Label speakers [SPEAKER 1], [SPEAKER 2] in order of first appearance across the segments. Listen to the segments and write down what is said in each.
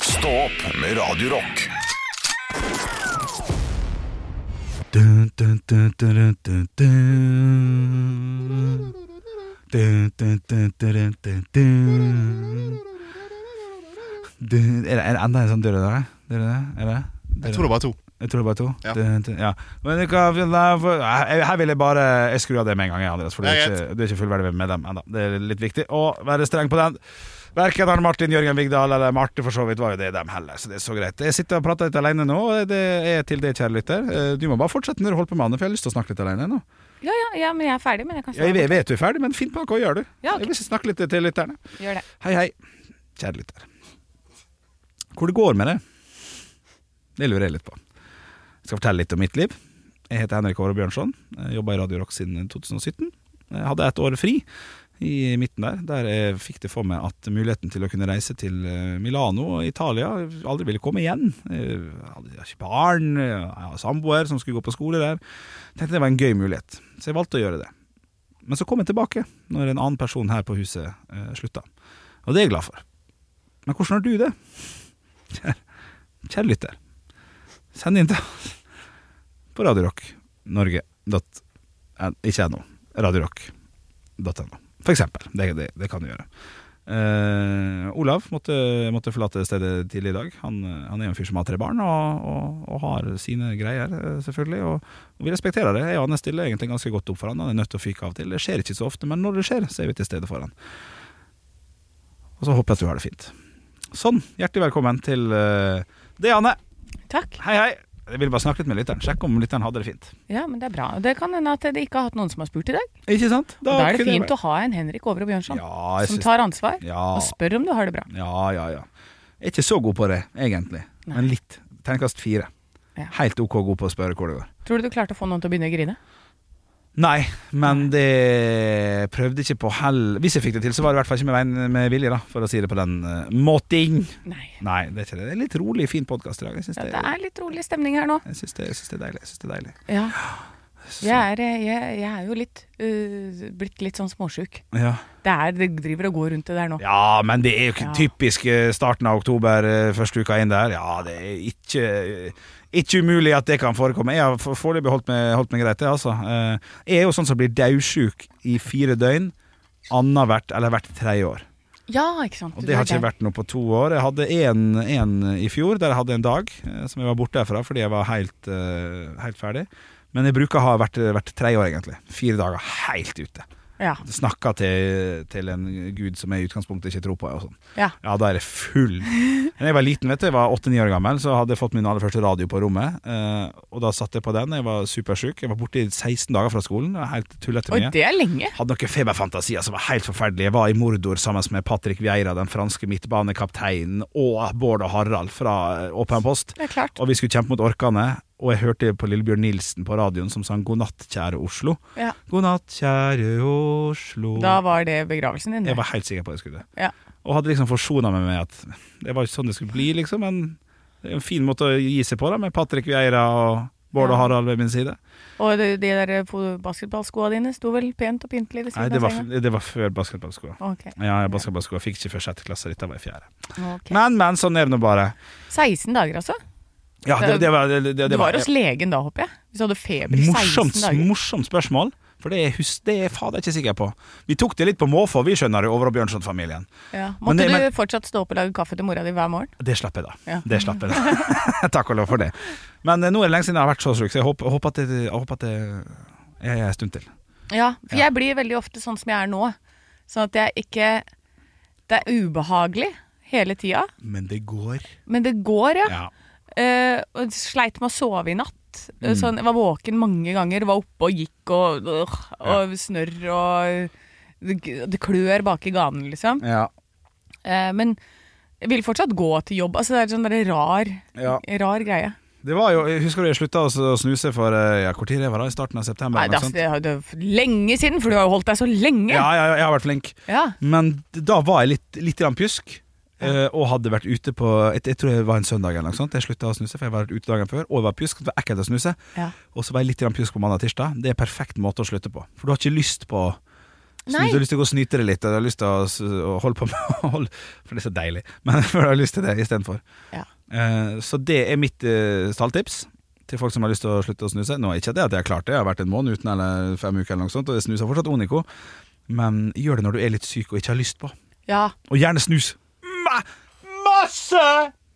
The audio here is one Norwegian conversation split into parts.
[SPEAKER 1] Stå opp med Radio Rock.
[SPEAKER 2] Dun, dun, dun, dun, dun, dun, dun. Dun, dun, dun, dun, dun, dun, dun. Dun. Er det er det enda en sånn dør der? Dør der? Er det?
[SPEAKER 3] Jeg tror det var to.
[SPEAKER 2] Jeg tror det var to.
[SPEAKER 3] Ja.
[SPEAKER 2] Dun, dun, ja. Men du kan finne- for- her her vil jeg bare Jeg skrur av det med en gang, jeg, Andreas. For du er
[SPEAKER 3] Ja,
[SPEAKER 2] ikke, du er ikke fullverdig medlem ennå. Det er litt viktig å være streng på den. Verken Arne Martin, Jørgen Vigdal eller Marte for så vidt var jo det dem heller, så det er så greit. Jeg sitter og prater litt alene nå, og det er til deg, kjære lytter. Eh, Du må bare fortsette når du holder på med Anne, for jeg har lyst til å snakke litt alene nå.
[SPEAKER 4] Ja, ja, ja, men jeg er ferdig. Men jeg kan
[SPEAKER 2] Ja, Jeg vet- vet du er ferdig, men finn på noe å gjøre, du.
[SPEAKER 4] Ja, ok.
[SPEAKER 2] Jeg vil snakke litt til lytterne.
[SPEAKER 4] Gjør det.
[SPEAKER 2] Hei, hei, kjære lytter. Hvor det går med det? Det lurer jeg litt på. Jeg skal fortelle litt om mitt liv. Jeg heter Henrik Åre Bjørnson. Jeg Jobba i Radio Rock siden 2017. Jeg hadde ett år fri i midten der, der jeg fikk det for meg at muligheten til å kunne reise til eh, Milano og Italia aldri ville komme igjen. Jeg hadde jeg har ikke barn, jeg har samboer som skulle gå på skole der. Tenkte det var en gøy mulighet, så jeg valgte å gjøre det. Men så kom jeg tilbake når en annen person her på huset eh, slutta. Og det er jeg glad for. Men hvordan har du det? Kjære, kjære lytter, send inn til oss på radiorocknorge.no. Ikke NO. Radiorock.no, for eksempel. Det, det, det kan du gjøre. Eh, Olav måtte, måtte forlate stedet tidlig i dag. Han, eh, han er jo en fyr som har tre barn, og, og, og har sine greier, eh, selvfølgelig. Og, og vi respekterer det. Jeg og Anne stiller egentlig ganske godt opp for han. Han er nødt til å fyke av og til. Det skjer ikke så ofte, men når det skjer, så er vi til stede for han. Og så håper jeg at du har det fint. Sånn. Hjertelig velkommen til eh, det, Anne.
[SPEAKER 4] Takk.
[SPEAKER 2] Hei, hei. Jeg ville bare snakke litt med lytteren. Sjekke om lytteren hadde det fint.
[SPEAKER 4] Ja, men det er bra. Det kan hende at de ikke har hatt noen som har spurt i dag.
[SPEAKER 2] Ikke sant?
[SPEAKER 4] Da, da er det fint å ha en Henrik Over og Bjørnson
[SPEAKER 2] ja, jeg
[SPEAKER 4] som
[SPEAKER 2] syns-
[SPEAKER 4] tar ansvar
[SPEAKER 2] ja,
[SPEAKER 4] og spør om du har det bra.
[SPEAKER 2] ja, ja, ja. Jeg er ikke så god på det, egentlig.
[SPEAKER 4] Nei.
[SPEAKER 2] Men litt. Terningkast fire.
[SPEAKER 4] Ja.
[SPEAKER 2] Helt ok god på å spørre hvor det går.
[SPEAKER 4] Tror du du klarte å få noen til å begynne å grine?
[SPEAKER 2] Nei, men det prøvde ikke på hell Hvis jeg fikk det til, så var det i hvert fall ikke med, veien- med vilje, da, for å si det på den uh, måten.
[SPEAKER 4] Nei.
[SPEAKER 2] Nei, det er ikke det. Det er litt rolig, fin podkast i dag. Jeg syns
[SPEAKER 4] Ja,
[SPEAKER 2] det,
[SPEAKER 4] det er litt rolig stemning her nå.
[SPEAKER 2] jeg syns det, jeg syns det er deilig. Jeg syns det er deilig.
[SPEAKER 4] Ja.
[SPEAKER 2] Så-
[SPEAKER 4] Jeg er, eh, jeg, jeg er jo litt øh, blitt litt sånn småsjuk.
[SPEAKER 2] ja.
[SPEAKER 4] Det, er, det driver og går rundt det der nå.
[SPEAKER 2] Ja, men det er jo ikke
[SPEAKER 4] Ja.
[SPEAKER 2] typisk eh, starten av oktober, eh, første uka inn der. Ja, det er ikke eh, ikke umulig at det kan forekomme. Jeg har for- foreløpig holdt, meg- holdt meg greit, det, altså. Eh, Jeg er jo sånn som blir daudsjuk i fire døgn annethvert eller hvert tredje år.
[SPEAKER 4] Ja, ikke sant.
[SPEAKER 2] Og det har ikke vært noe på to år. Jeg hadde en, en i fjor der jeg hadde en dag eh, som jeg var borte derfra fordi jeg var helt, eh, helt ferdig. Men jeg bruker å ha hvert, hvert tredje år, egentlig. Fire dager helt ute.
[SPEAKER 4] Ja.
[SPEAKER 2] Snakka til, til en gud som jeg i utgangspunktet ikke tror på. og sånn.
[SPEAKER 4] ja.
[SPEAKER 2] Ja, da er det full. Da jeg var liten, vet du, jeg var åtte-ni år gammel, så hadde jeg fått min aller første radio på rommet. eh, og da satt jeg på den. Jeg var supersjuk. Jeg var borte i 16 dager fra skolen. Det var Helt tullete
[SPEAKER 4] Og
[SPEAKER 2] mye.
[SPEAKER 4] det er lenge.
[SPEAKER 2] Hadde noen feberfantasier som var helt forferdelige. Jeg var i Mordor sammen med Patrick Vieira, den franske midtbanekapteinen, og Bård og Harald fra eh, Åpen post.
[SPEAKER 4] Det er klart.
[SPEAKER 2] Og vi skulle kjempe mot orkene. Og jeg hørte på Lillebjørn Nilsen på radioen som sang 'God natt, kjære Oslo'.
[SPEAKER 4] Ja.
[SPEAKER 2] 'God natt, kjære Oslo'.
[SPEAKER 4] Da var det begravelsen din. det.
[SPEAKER 2] Jeg var helt sikker på at jeg skulle det.
[SPEAKER 4] Ja.
[SPEAKER 2] Og hadde liksom forsona meg med at det var ikke sånn det skulle bli, liksom. Men det er en fin måte å gi seg på, da, med Patrick Vieira og Bård og
[SPEAKER 4] Ja.
[SPEAKER 2] Harald ved min side.
[SPEAKER 4] Og de, de der fo- basketballskoa dine sto vel pent og pyntelig ved
[SPEAKER 2] Nei,
[SPEAKER 4] siden
[SPEAKER 2] det
[SPEAKER 4] av
[SPEAKER 2] var,
[SPEAKER 4] senga?
[SPEAKER 2] det var før basketballskoa.
[SPEAKER 4] Ok,
[SPEAKER 2] Ja, jeg basketballskoa fikk ikke før sjette klasse, dette var i fjerde.
[SPEAKER 4] ok.
[SPEAKER 2] Men, men, sånn er det nå bare.
[SPEAKER 4] 16 dager, altså?
[SPEAKER 2] Ja, det, det var, det, det,
[SPEAKER 4] du
[SPEAKER 2] det
[SPEAKER 4] var
[SPEAKER 2] var
[SPEAKER 4] hos legen da, håper jeg? Hvis du hadde feber i 16
[SPEAKER 2] morsomt,
[SPEAKER 4] dager?
[SPEAKER 2] morsomt spørsmål. For det er, hus, det er jeg fader ikke sikker på. Vi tok det litt på måfå, vi skjønner det, over og Bjørnson-familien.
[SPEAKER 4] Ja.
[SPEAKER 2] Men
[SPEAKER 4] Måtte
[SPEAKER 2] det- men-
[SPEAKER 4] du fortsatt stå opp og lage kaffe til mora di hver morgen?
[SPEAKER 2] Det slapp jeg, da.
[SPEAKER 4] Ja.
[SPEAKER 2] Det slapp jeg da. Takk og lov for det. Men eh, nå er det lenge siden jeg har vært så sjuk, så jeg håper, jeg håper at det, jeg håper at det jeg er en stund til.
[SPEAKER 4] Ja, for jeg blir veldig ofte sånn som jeg er nå. Sånn at jeg ikke Det er ubehagelig hele tida,
[SPEAKER 2] Men det går.
[SPEAKER 4] men det går, ja.
[SPEAKER 2] Ja.
[SPEAKER 4] Eh, og sleit med å sove i natt.
[SPEAKER 2] Mm.
[SPEAKER 4] Eh, Sånn, jeg var våken mange ganger, var oppe og gikk og, øh, og snørr og det, det klør bak i ganen, liksom.
[SPEAKER 2] Ja.
[SPEAKER 4] Eh, men jeg vil fortsatt gå til jobb. Altså, det er sånn der rar,
[SPEAKER 2] Ja.
[SPEAKER 4] rar greie.
[SPEAKER 2] Det var jo, jeg Husker du jeg slutta å s- å snuse for eh, ja, hvor tid det var da? I starten av september?
[SPEAKER 4] Nei,
[SPEAKER 2] eller
[SPEAKER 4] det,
[SPEAKER 2] noe
[SPEAKER 4] altså,
[SPEAKER 2] sånt?
[SPEAKER 4] det, er- det er lenge siden, for du har jo holdt deg så lenge.
[SPEAKER 2] ja, ja, ja, jeg har vært flink.
[SPEAKER 4] Ja.
[SPEAKER 2] Men d- da var jeg litt, litt grann pjusk.
[SPEAKER 4] Ja.
[SPEAKER 2] eh, Og hadde vært ute på Jeg, jeg tror det var en søndag eller noe sånt. Jeg slutta å snuse, for jeg var ute dagen før. Og jeg var pjusk. Det var ekkelt å snuse.
[SPEAKER 4] Ja.
[SPEAKER 2] Og så var jeg litt grann pjusk på mandag og tirsdag. Det er en perfekt måte å slutte på. For du har ikke lyst på Så
[SPEAKER 5] Nei.
[SPEAKER 2] hvis du har lyst til å gå og snyte deg litt, og du har lyst til å, s- å holde på med hold, For det er så deilig. Men for du har lyst til det istedenfor.
[SPEAKER 5] Ja.
[SPEAKER 2] Eh, så det er mitt eh, stalltips til folk som har lyst til å slutte å snuse. Nå er ikke det at jeg har klart det, jeg har vært en måned uten eller fem uker, eller noe sånt, og jeg snuser fortsatt Onico. Men gjør det når du er litt syk og ikke har lyst på.
[SPEAKER 5] Ja.
[SPEAKER 2] Og gjerne snus Ma masse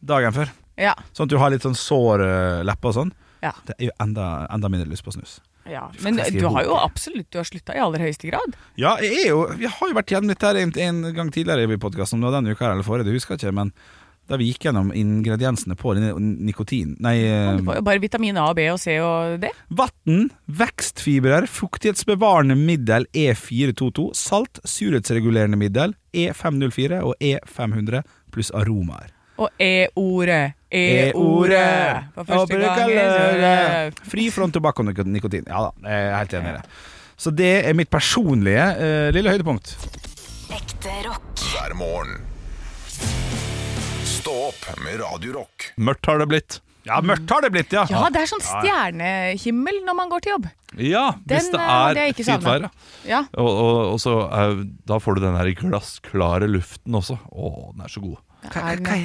[SPEAKER 2] dagen før.
[SPEAKER 5] Ja.
[SPEAKER 2] Sånn at du har litt sånn sår eh, lepper og sånn.
[SPEAKER 5] Ja.
[SPEAKER 2] Det er jo enda, enda mindre lyst på snus.
[SPEAKER 5] ja. Men
[SPEAKER 2] Faktisk,
[SPEAKER 5] du har jo
[SPEAKER 2] ok.
[SPEAKER 5] absolutt Du har slutta i aller høyeste grad.
[SPEAKER 2] Ja, jeg er jo Jeg har jo vært gjennom dette her en, en gang tidligere i podkasten, om det var denne uka her eller forrige, det husker jeg ikke, men da vi gikk gjennom ingrediensene på denne nikotin Nei, eh,
[SPEAKER 5] Det var jo bare vitamin A og B og C og D.
[SPEAKER 2] vann, vekstfibrer, fuktighetsbevarende middel E E422, salt, surhetsregulerende middel E E504 og E500 pluss aromaer.
[SPEAKER 5] Og e E-ordet.
[SPEAKER 2] E-ordet.
[SPEAKER 5] E-ordet. For første
[SPEAKER 2] E Ja,
[SPEAKER 5] gang.
[SPEAKER 2] brukerløret. Fri front tobakk og nik- nikotin. Ja da, jeg er helt enig i det. Så det er mitt personlige eh, lille høydepunkt.
[SPEAKER 3] Ekte rock.
[SPEAKER 1] hver morgen. Stå opp med Radio Rock.
[SPEAKER 6] Mørkt har det blitt.
[SPEAKER 2] Ja, mørkt har det blitt, ja.
[SPEAKER 5] Ja, det er sånn stjernehimmel når man går til jobb.
[SPEAKER 6] Ja, hvis
[SPEAKER 5] Den,
[SPEAKER 6] det
[SPEAKER 5] eh,
[SPEAKER 6] er
[SPEAKER 5] det er ikke
[SPEAKER 6] fint
[SPEAKER 5] savnet.
[SPEAKER 6] vær. ja.
[SPEAKER 5] Ja.
[SPEAKER 6] Og, og, og så eh, da får du den her glassklare luften også. Å, den er så god.
[SPEAKER 2] Hva, hva, hva,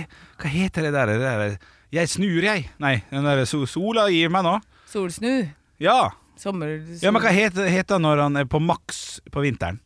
[SPEAKER 2] hva heter det der? Det der jeg snur, jeg. Nei, den der so- sola gir meg nå.
[SPEAKER 5] Solsnu.
[SPEAKER 2] Ja.
[SPEAKER 5] Sommer...
[SPEAKER 2] ja men hva heter, heter han når han er på maks på vinteren?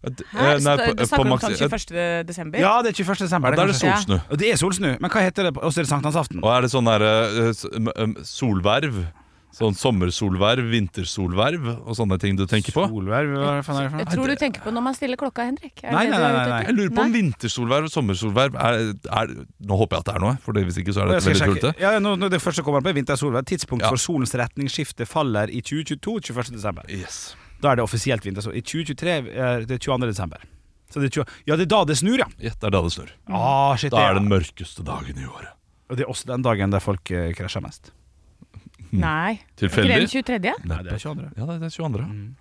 [SPEAKER 5] Her,
[SPEAKER 6] Eh, nei,
[SPEAKER 5] sta-
[SPEAKER 6] på-
[SPEAKER 5] du
[SPEAKER 6] på
[SPEAKER 5] snakker om
[SPEAKER 6] maks-
[SPEAKER 5] kanskje 1. desember?
[SPEAKER 2] Ja, det er 21. desember.
[SPEAKER 6] Ja, da er det
[SPEAKER 2] kanskje-
[SPEAKER 6] solsnu.
[SPEAKER 2] Ja. Og Det er solsnu. Men hva heter det? Og så er det sankthansaften.
[SPEAKER 6] Og er det sånn der eh, s- m- m- solverv? Sånn sommersolverv, vintersolverv og sånne ting du tenker på?
[SPEAKER 2] Solverv, hva faen er det for
[SPEAKER 5] Jeg
[SPEAKER 2] noe?
[SPEAKER 5] tror du tenker på når man stiller klokka, Henrik. Er
[SPEAKER 2] Nei,
[SPEAKER 5] det det
[SPEAKER 2] nei,
[SPEAKER 5] du er
[SPEAKER 2] nei,
[SPEAKER 5] ute
[SPEAKER 2] nei,
[SPEAKER 5] etter?
[SPEAKER 6] Jeg lurer på om vintersolverv og sommersolverv er, er Nå håper jeg at det er noe, for det- hvis ikke så
[SPEAKER 2] Jeg
[SPEAKER 6] er dette
[SPEAKER 2] skal
[SPEAKER 6] veldig
[SPEAKER 2] sjekke.
[SPEAKER 6] tullete.
[SPEAKER 2] Ja, nå, nå, det første som kommer på er vintersolverv. Tidspunkt
[SPEAKER 6] Ja.
[SPEAKER 2] for solens retningsskifte faller i 2022 21. desember.
[SPEAKER 6] Yes.
[SPEAKER 2] Da er det offisielt vintersolverv. I 2023 er det 22. desember. Så det er 20, ja, det er da det snur, ja.
[SPEAKER 5] Mm.
[SPEAKER 6] Ja, det er da det snør.
[SPEAKER 2] Ah, shit,
[SPEAKER 6] Da er
[SPEAKER 2] det,
[SPEAKER 6] det den mørkeste dagen i året.
[SPEAKER 2] Og det er også den dagen der folk eh, krasjer mest.
[SPEAKER 5] Nei. Ikke
[SPEAKER 6] Tilfeldig?
[SPEAKER 5] den 23.?
[SPEAKER 2] Nei, det er 22.
[SPEAKER 6] Ja, det er 22.
[SPEAKER 5] Mm.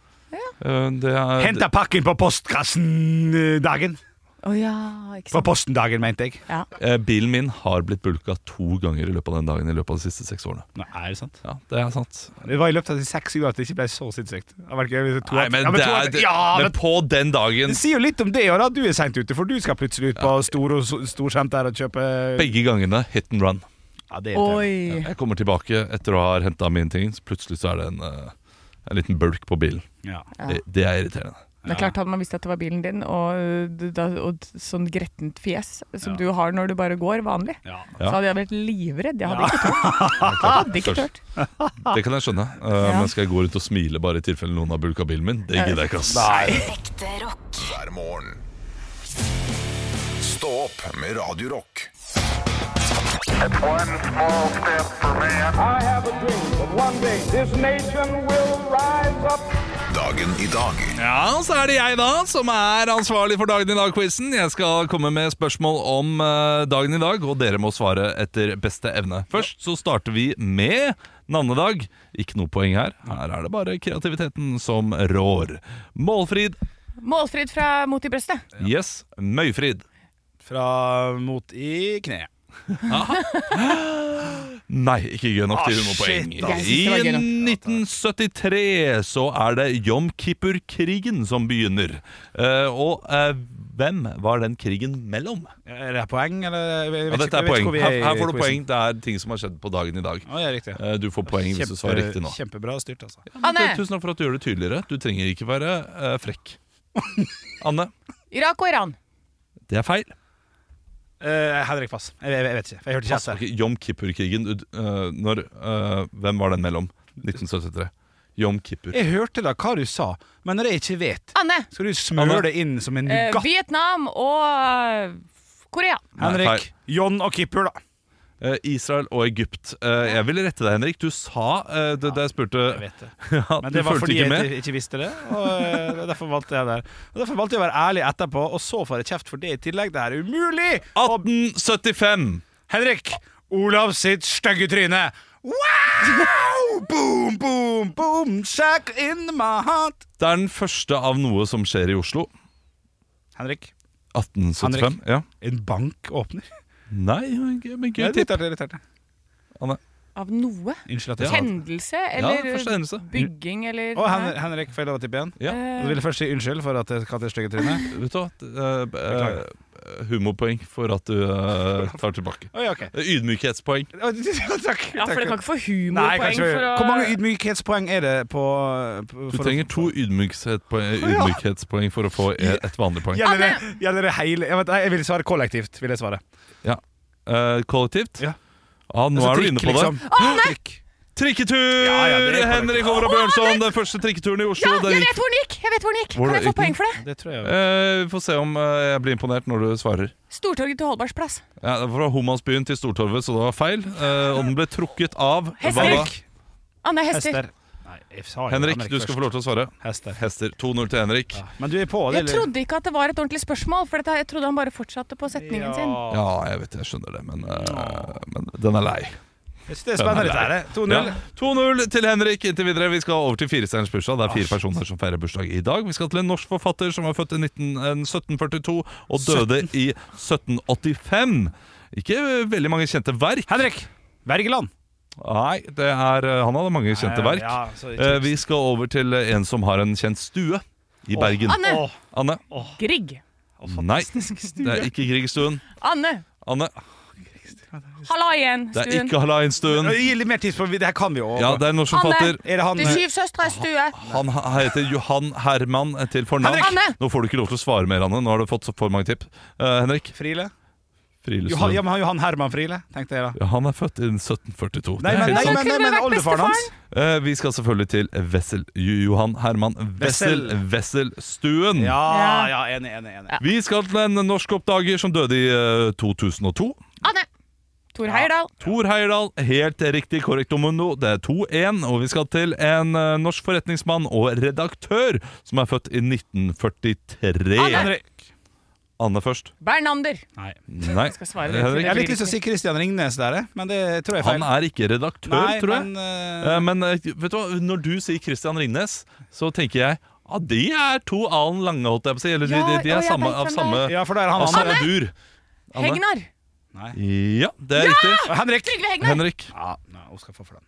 [SPEAKER 6] Eh, Det er
[SPEAKER 2] Henta pakken på postkassen-dagen.
[SPEAKER 5] Å ja, ikke
[SPEAKER 2] På
[SPEAKER 5] sant.
[SPEAKER 2] posten-dagen, mente jeg.
[SPEAKER 5] Ja.
[SPEAKER 6] Eh, Bilen min har blitt bulka to ganger i løpet av den dagen i løpet av de siste seks årene.
[SPEAKER 2] Nei, er det sant?
[SPEAKER 6] Ja, det er sant.
[SPEAKER 2] Det var i løpet av de seks ukene at det ikke ble så sinnssykt. Det var ikke- to-
[SPEAKER 6] Nei, men,
[SPEAKER 2] ja,
[SPEAKER 6] det
[SPEAKER 2] to-
[SPEAKER 6] er, det,
[SPEAKER 2] ja,
[SPEAKER 6] men
[SPEAKER 2] men
[SPEAKER 6] på den dagen
[SPEAKER 2] det sier jo litt om det, og da du er seint ute, for du skal plutselig ut på stor og so- storsenter og kjøpe
[SPEAKER 6] Begge gangene hit and run.
[SPEAKER 2] ja, det er helt enig.
[SPEAKER 5] Oi.
[SPEAKER 6] Jeg kommer tilbake etter å ha henta mine ting, så plutselig så er det en, eh, en liten bulk på bilen.
[SPEAKER 2] Ja.
[SPEAKER 5] Ja.
[SPEAKER 6] Det, det er irriterende.
[SPEAKER 5] Det er klart Hadde man visst at det var bilen din, og, øh, d- da, og d- sånn grettent fjes som
[SPEAKER 2] Ja.
[SPEAKER 5] du har når du bare går vanlig,
[SPEAKER 2] Ja.
[SPEAKER 6] Ja.
[SPEAKER 5] så hadde jeg vært livredd. Jeg hadde ikke turt. Hadde ikke tørt.
[SPEAKER 6] Det kan jeg skjønne. Eh,
[SPEAKER 5] Ja.
[SPEAKER 6] Men skal jeg gå rundt og smile bare i tilfelle noen har bulka bilen min? Det gidder jeg ikke, ass.
[SPEAKER 3] Ekte rock.
[SPEAKER 1] hver morgen. Stå opp med Radio Rock.
[SPEAKER 7] One small step for man.
[SPEAKER 8] I have a dream that one day this nation will rise up.
[SPEAKER 1] Dagen i dag
[SPEAKER 6] Ja, så er det jeg da som er ansvarlig for Dagen i dag-quizen. Jeg skal komme med spørsmål om eh, dagen i dag, og dere må svare etter beste evne. Først så starter vi med navnedag. Ikke noe poeng her. Her er det bare kreativiteten som rår. Målfrid.
[SPEAKER 5] Målfrid fra Mot i brøstet.
[SPEAKER 6] Yes. Møyfrid.
[SPEAKER 2] Fra mot i kneet.
[SPEAKER 6] Nei, ikke gøy nok til
[SPEAKER 2] Ah,
[SPEAKER 6] noe
[SPEAKER 2] shit,
[SPEAKER 6] poeng.
[SPEAKER 2] da.
[SPEAKER 5] Jeg synes det var
[SPEAKER 6] I
[SPEAKER 5] gøy nok.
[SPEAKER 6] 1973 så er det Jom Kippur-krigen som begynner. Eh, og eh, hvem var den krigen mellom?
[SPEAKER 2] Er det poeng, eller? Jeg vet
[SPEAKER 6] Ja,
[SPEAKER 2] ikke-
[SPEAKER 6] dette
[SPEAKER 2] jeg vet
[SPEAKER 6] er
[SPEAKER 2] ikke
[SPEAKER 6] poeng.
[SPEAKER 2] hvor vi
[SPEAKER 6] Her,
[SPEAKER 2] i
[SPEAKER 6] her får du
[SPEAKER 2] quizen.
[SPEAKER 6] poeng. Det er ting som har skjedd på dagen i dag.
[SPEAKER 2] Ja, det er riktig.
[SPEAKER 6] Eh, Du får poeng hvis du svarer riktig nå.
[SPEAKER 2] Kjempebra styrt, altså.
[SPEAKER 5] Anne!
[SPEAKER 6] Tusen takk for at du gjør det tydeligere. Du trenger ikke være eh, frekk. Anne,
[SPEAKER 5] Irak og Iran.
[SPEAKER 6] det er feil.
[SPEAKER 2] Eh, Henrik Pass. Jeg, jeg, jeg vet ikke. for Jeg hørte ikke
[SPEAKER 6] Pass,
[SPEAKER 2] etter.
[SPEAKER 6] ok, Jom Kippur-krigen du- eh, når, eh, Hvem var den mellom? 1973. Jom Kippur.
[SPEAKER 2] Jeg hørte da hva du sa, men når jeg ikke vet,
[SPEAKER 5] Anne!
[SPEAKER 2] skal du smøre det inn som en
[SPEAKER 5] Eh,
[SPEAKER 2] nougat.
[SPEAKER 5] Vietnam og eh, Korea.
[SPEAKER 6] Nei,
[SPEAKER 2] Henrik,
[SPEAKER 6] feil.
[SPEAKER 2] John og Kippur, da.
[SPEAKER 6] Eh, Israel og Egypt. Eh, Jeg vil rette deg, Henrik. Du sa eh, det da
[SPEAKER 2] Jeg
[SPEAKER 6] jeg spurte
[SPEAKER 2] vet det.
[SPEAKER 6] ja,
[SPEAKER 2] Men
[SPEAKER 6] Du
[SPEAKER 2] det var
[SPEAKER 6] fulgte
[SPEAKER 2] fordi
[SPEAKER 6] ikke
[SPEAKER 2] jeg
[SPEAKER 6] med.
[SPEAKER 2] ikke, ikke visste det, og eh, det er derfor valgte jeg det. Og derfor valgte jeg å være ærlig etterpå, og så får jeg kjeft for det i tillegg. Det er umulig! Og
[SPEAKER 6] 1875!
[SPEAKER 2] Henrik, Olav sitt stygge tryne. Wow! Boom, boom, boom, shack in my heart.
[SPEAKER 6] Det er den første av noe som skjer i Oslo.
[SPEAKER 2] Henrik,
[SPEAKER 6] 1875. Ja.
[SPEAKER 2] en bank åpner.
[SPEAKER 6] Nei, men gøy
[SPEAKER 2] Det
[SPEAKER 6] men
[SPEAKER 2] er
[SPEAKER 6] gøy tipp.
[SPEAKER 2] irritert, irritert.
[SPEAKER 6] Anne.
[SPEAKER 4] Av noe?
[SPEAKER 2] Unnskyld at jeg sa det.
[SPEAKER 4] Hendelse
[SPEAKER 6] Ja,
[SPEAKER 4] eller eh,
[SPEAKER 6] første hendelse.
[SPEAKER 4] bygging eller
[SPEAKER 2] Å, Hen Henrik får jeg lov å tippe igjen?
[SPEAKER 6] Mm. Ja.
[SPEAKER 4] Eh.
[SPEAKER 2] Du ville først si unnskyld for at jeg kalte det stygge trynet?
[SPEAKER 6] Vet du hva? Eh, eh, humorpoeng for at du eh, tar tilbake.
[SPEAKER 2] Oi, ok.
[SPEAKER 6] Ydmykhetspoeng.
[SPEAKER 2] Å, takk.
[SPEAKER 4] Ja, for
[SPEAKER 2] takk.
[SPEAKER 4] det kan ikke få
[SPEAKER 2] Nei,
[SPEAKER 4] humorpoeng
[SPEAKER 2] kanskje-
[SPEAKER 4] for å
[SPEAKER 2] Hvor mange ydmykhetspoeng er det på, på
[SPEAKER 6] Du
[SPEAKER 2] for å-
[SPEAKER 6] trenger to ydmykhetspoeng, ydmykhetspoeng for å få e- et vanlig poeng.
[SPEAKER 2] Gjelder det, gjelder det hele jeg, vet, jeg vil svare kollektivt, vil jeg svare.
[SPEAKER 6] Eh, kollektivt?
[SPEAKER 2] Ja.
[SPEAKER 6] Ah, nå
[SPEAKER 2] Altså,
[SPEAKER 6] er du
[SPEAKER 2] trykk,
[SPEAKER 6] inne på det.
[SPEAKER 2] liksom.
[SPEAKER 4] Ah!
[SPEAKER 6] Trykk. Trikketur!
[SPEAKER 2] Ja, ja, det er korrekt.
[SPEAKER 6] Henrik Over og Bjørnson, den første trikketuren i
[SPEAKER 4] Ja,
[SPEAKER 6] Oslo. den
[SPEAKER 4] jeg
[SPEAKER 6] gikk-
[SPEAKER 4] vet hvor den gikk! Jeg vet hvor den gikk.
[SPEAKER 6] Hvordan
[SPEAKER 4] Kan jeg få
[SPEAKER 6] gikk den?
[SPEAKER 4] poeng for det?
[SPEAKER 2] Det tror jeg
[SPEAKER 6] Eh, vi får se om eh, jeg blir imponert når du svarer.
[SPEAKER 4] Stortorget til Holbergs plass.
[SPEAKER 6] Ja, det var fra Homansbyen til Stortorvet, så det var feil. Eh, og den ble trukket av
[SPEAKER 4] Hester.
[SPEAKER 6] hva da?
[SPEAKER 4] Anne Hester.
[SPEAKER 2] Hester. Nei, jeg sa jo
[SPEAKER 6] Henrik, du skal
[SPEAKER 2] først.
[SPEAKER 6] få lov til å svare.
[SPEAKER 2] Hester.
[SPEAKER 6] Hester. 2-0 til Henrik.
[SPEAKER 2] Ja. Men du er på, det
[SPEAKER 4] Jeg trodde ikke at det var et ordentlig spørsmål, for dette, jeg trodde han bare fortsatte på setningen sin.
[SPEAKER 6] Ja, altså. jeg vet jeg skjønner det, men, eh, men den er lei.
[SPEAKER 2] Jeg synes det er spennende, dette her. det. 2-0.
[SPEAKER 6] Ja. 2-0 til Henrik inntil videre. Vi skal over til firestjerners bursdag. Det er fire personer som feirer bursdag i dag. Vi skal til en norsk forfatter som var født i 19, eh, 1742 og døde i 1785. Ikke eh, veldig mange kjente verk.
[SPEAKER 2] Henrik! Wergeland.
[SPEAKER 6] Nei, det er, eh, han hadde mange kjente verk.
[SPEAKER 2] Ja, så ikke-
[SPEAKER 6] Eh, Vi skal over til eh, en som har en kjent stue i Bergen.
[SPEAKER 4] Anne!
[SPEAKER 2] Åh,
[SPEAKER 6] Anne.
[SPEAKER 4] Grieg.
[SPEAKER 6] Nei, det er ikke Griegstuen.
[SPEAKER 4] Anne!
[SPEAKER 6] Anne,
[SPEAKER 4] Halla igjen,
[SPEAKER 6] det er
[SPEAKER 4] stuen.
[SPEAKER 6] ikke Halainstuen.
[SPEAKER 2] Gi litt mer tips på Det her kan vi jo.
[SPEAKER 6] Ja, det er en norsk
[SPEAKER 4] Anne.
[SPEAKER 6] forfatter.
[SPEAKER 2] Er det han
[SPEAKER 6] eh,
[SPEAKER 4] De syv søstre er stue.
[SPEAKER 6] Han he- heter Johan Herman til fornavn.
[SPEAKER 2] Henrik!
[SPEAKER 4] Anne!
[SPEAKER 6] Nå får du ikke lov til å svare mer, Anne. Nå har du fått så for mange tipp. Eh, Henrik?
[SPEAKER 2] Friele? Johan, ja,
[SPEAKER 6] Friluftsløv.
[SPEAKER 2] men han- Johan Herman Friele, tenkte jeg da.
[SPEAKER 6] Ja, han er født i 1742.
[SPEAKER 2] Nei, men,
[SPEAKER 6] Det er
[SPEAKER 2] nei,
[SPEAKER 6] helt sant.
[SPEAKER 2] men, men, men
[SPEAKER 4] Sånn Kunne det vært
[SPEAKER 2] oldefaren hans.
[SPEAKER 6] Eh, vi skal selvfølgelig til Wessel. Jo- Johan Herman Wessel. Wesselstuen.
[SPEAKER 2] Ja, ja, enig, enig. enig.
[SPEAKER 6] Vi skal til en norsk oppdager som døde i eh, 2002.
[SPEAKER 4] Anne! Tor Heyerdahl.
[SPEAKER 6] Tor Heyerdahl, helt riktig korrekt Omundo. Det er 2-1, og vi skal til en eh, norsk forretningsmann og redaktør som er født i 1943. Anne,
[SPEAKER 2] Henrik.
[SPEAKER 6] først.
[SPEAKER 4] Bernander.
[SPEAKER 2] Nei.
[SPEAKER 6] Nei,
[SPEAKER 4] skal svare det.
[SPEAKER 6] Henrik.
[SPEAKER 2] Jeg har litt lyst til å si Christian Ringnes der, jeg, men det tror jeg er feil.
[SPEAKER 6] Han er ikke redaktør,
[SPEAKER 2] Nei,
[SPEAKER 6] tror jeg.
[SPEAKER 2] men,
[SPEAKER 6] Men,
[SPEAKER 2] eh,
[SPEAKER 6] men eh, vet du hva, når du sier Christian Ringnes, så tenker jeg ja, de er to alen lange, holdt jeg på å si. Eller de,
[SPEAKER 4] Ja,
[SPEAKER 6] de,
[SPEAKER 4] og
[SPEAKER 6] de er
[SPEAKER 4] jeg
[SPEAKER 6] samme,
[SPEAKER 4] vet
[SPEAKER 6] av
[SPEAKER 4] hvem
[SPEAKER 6] samme,
[SPEAKER 2] eh, Ja, for da er han
[SPEAKER 6] av
[SPEAKER 2] andre.
[SPEAKER 6] samme dur. Anne?
[SPEAKER 4] Hegnar.
[SPEAKER 6] Ja, det er riktig.
[SPEAKER 2] Henrik!
[SPEAKER 4] Trygve Hegnar.
[SPEAKER 6] Henrik.
[SPEAKER 2] Ja, nei, hun skal få for den.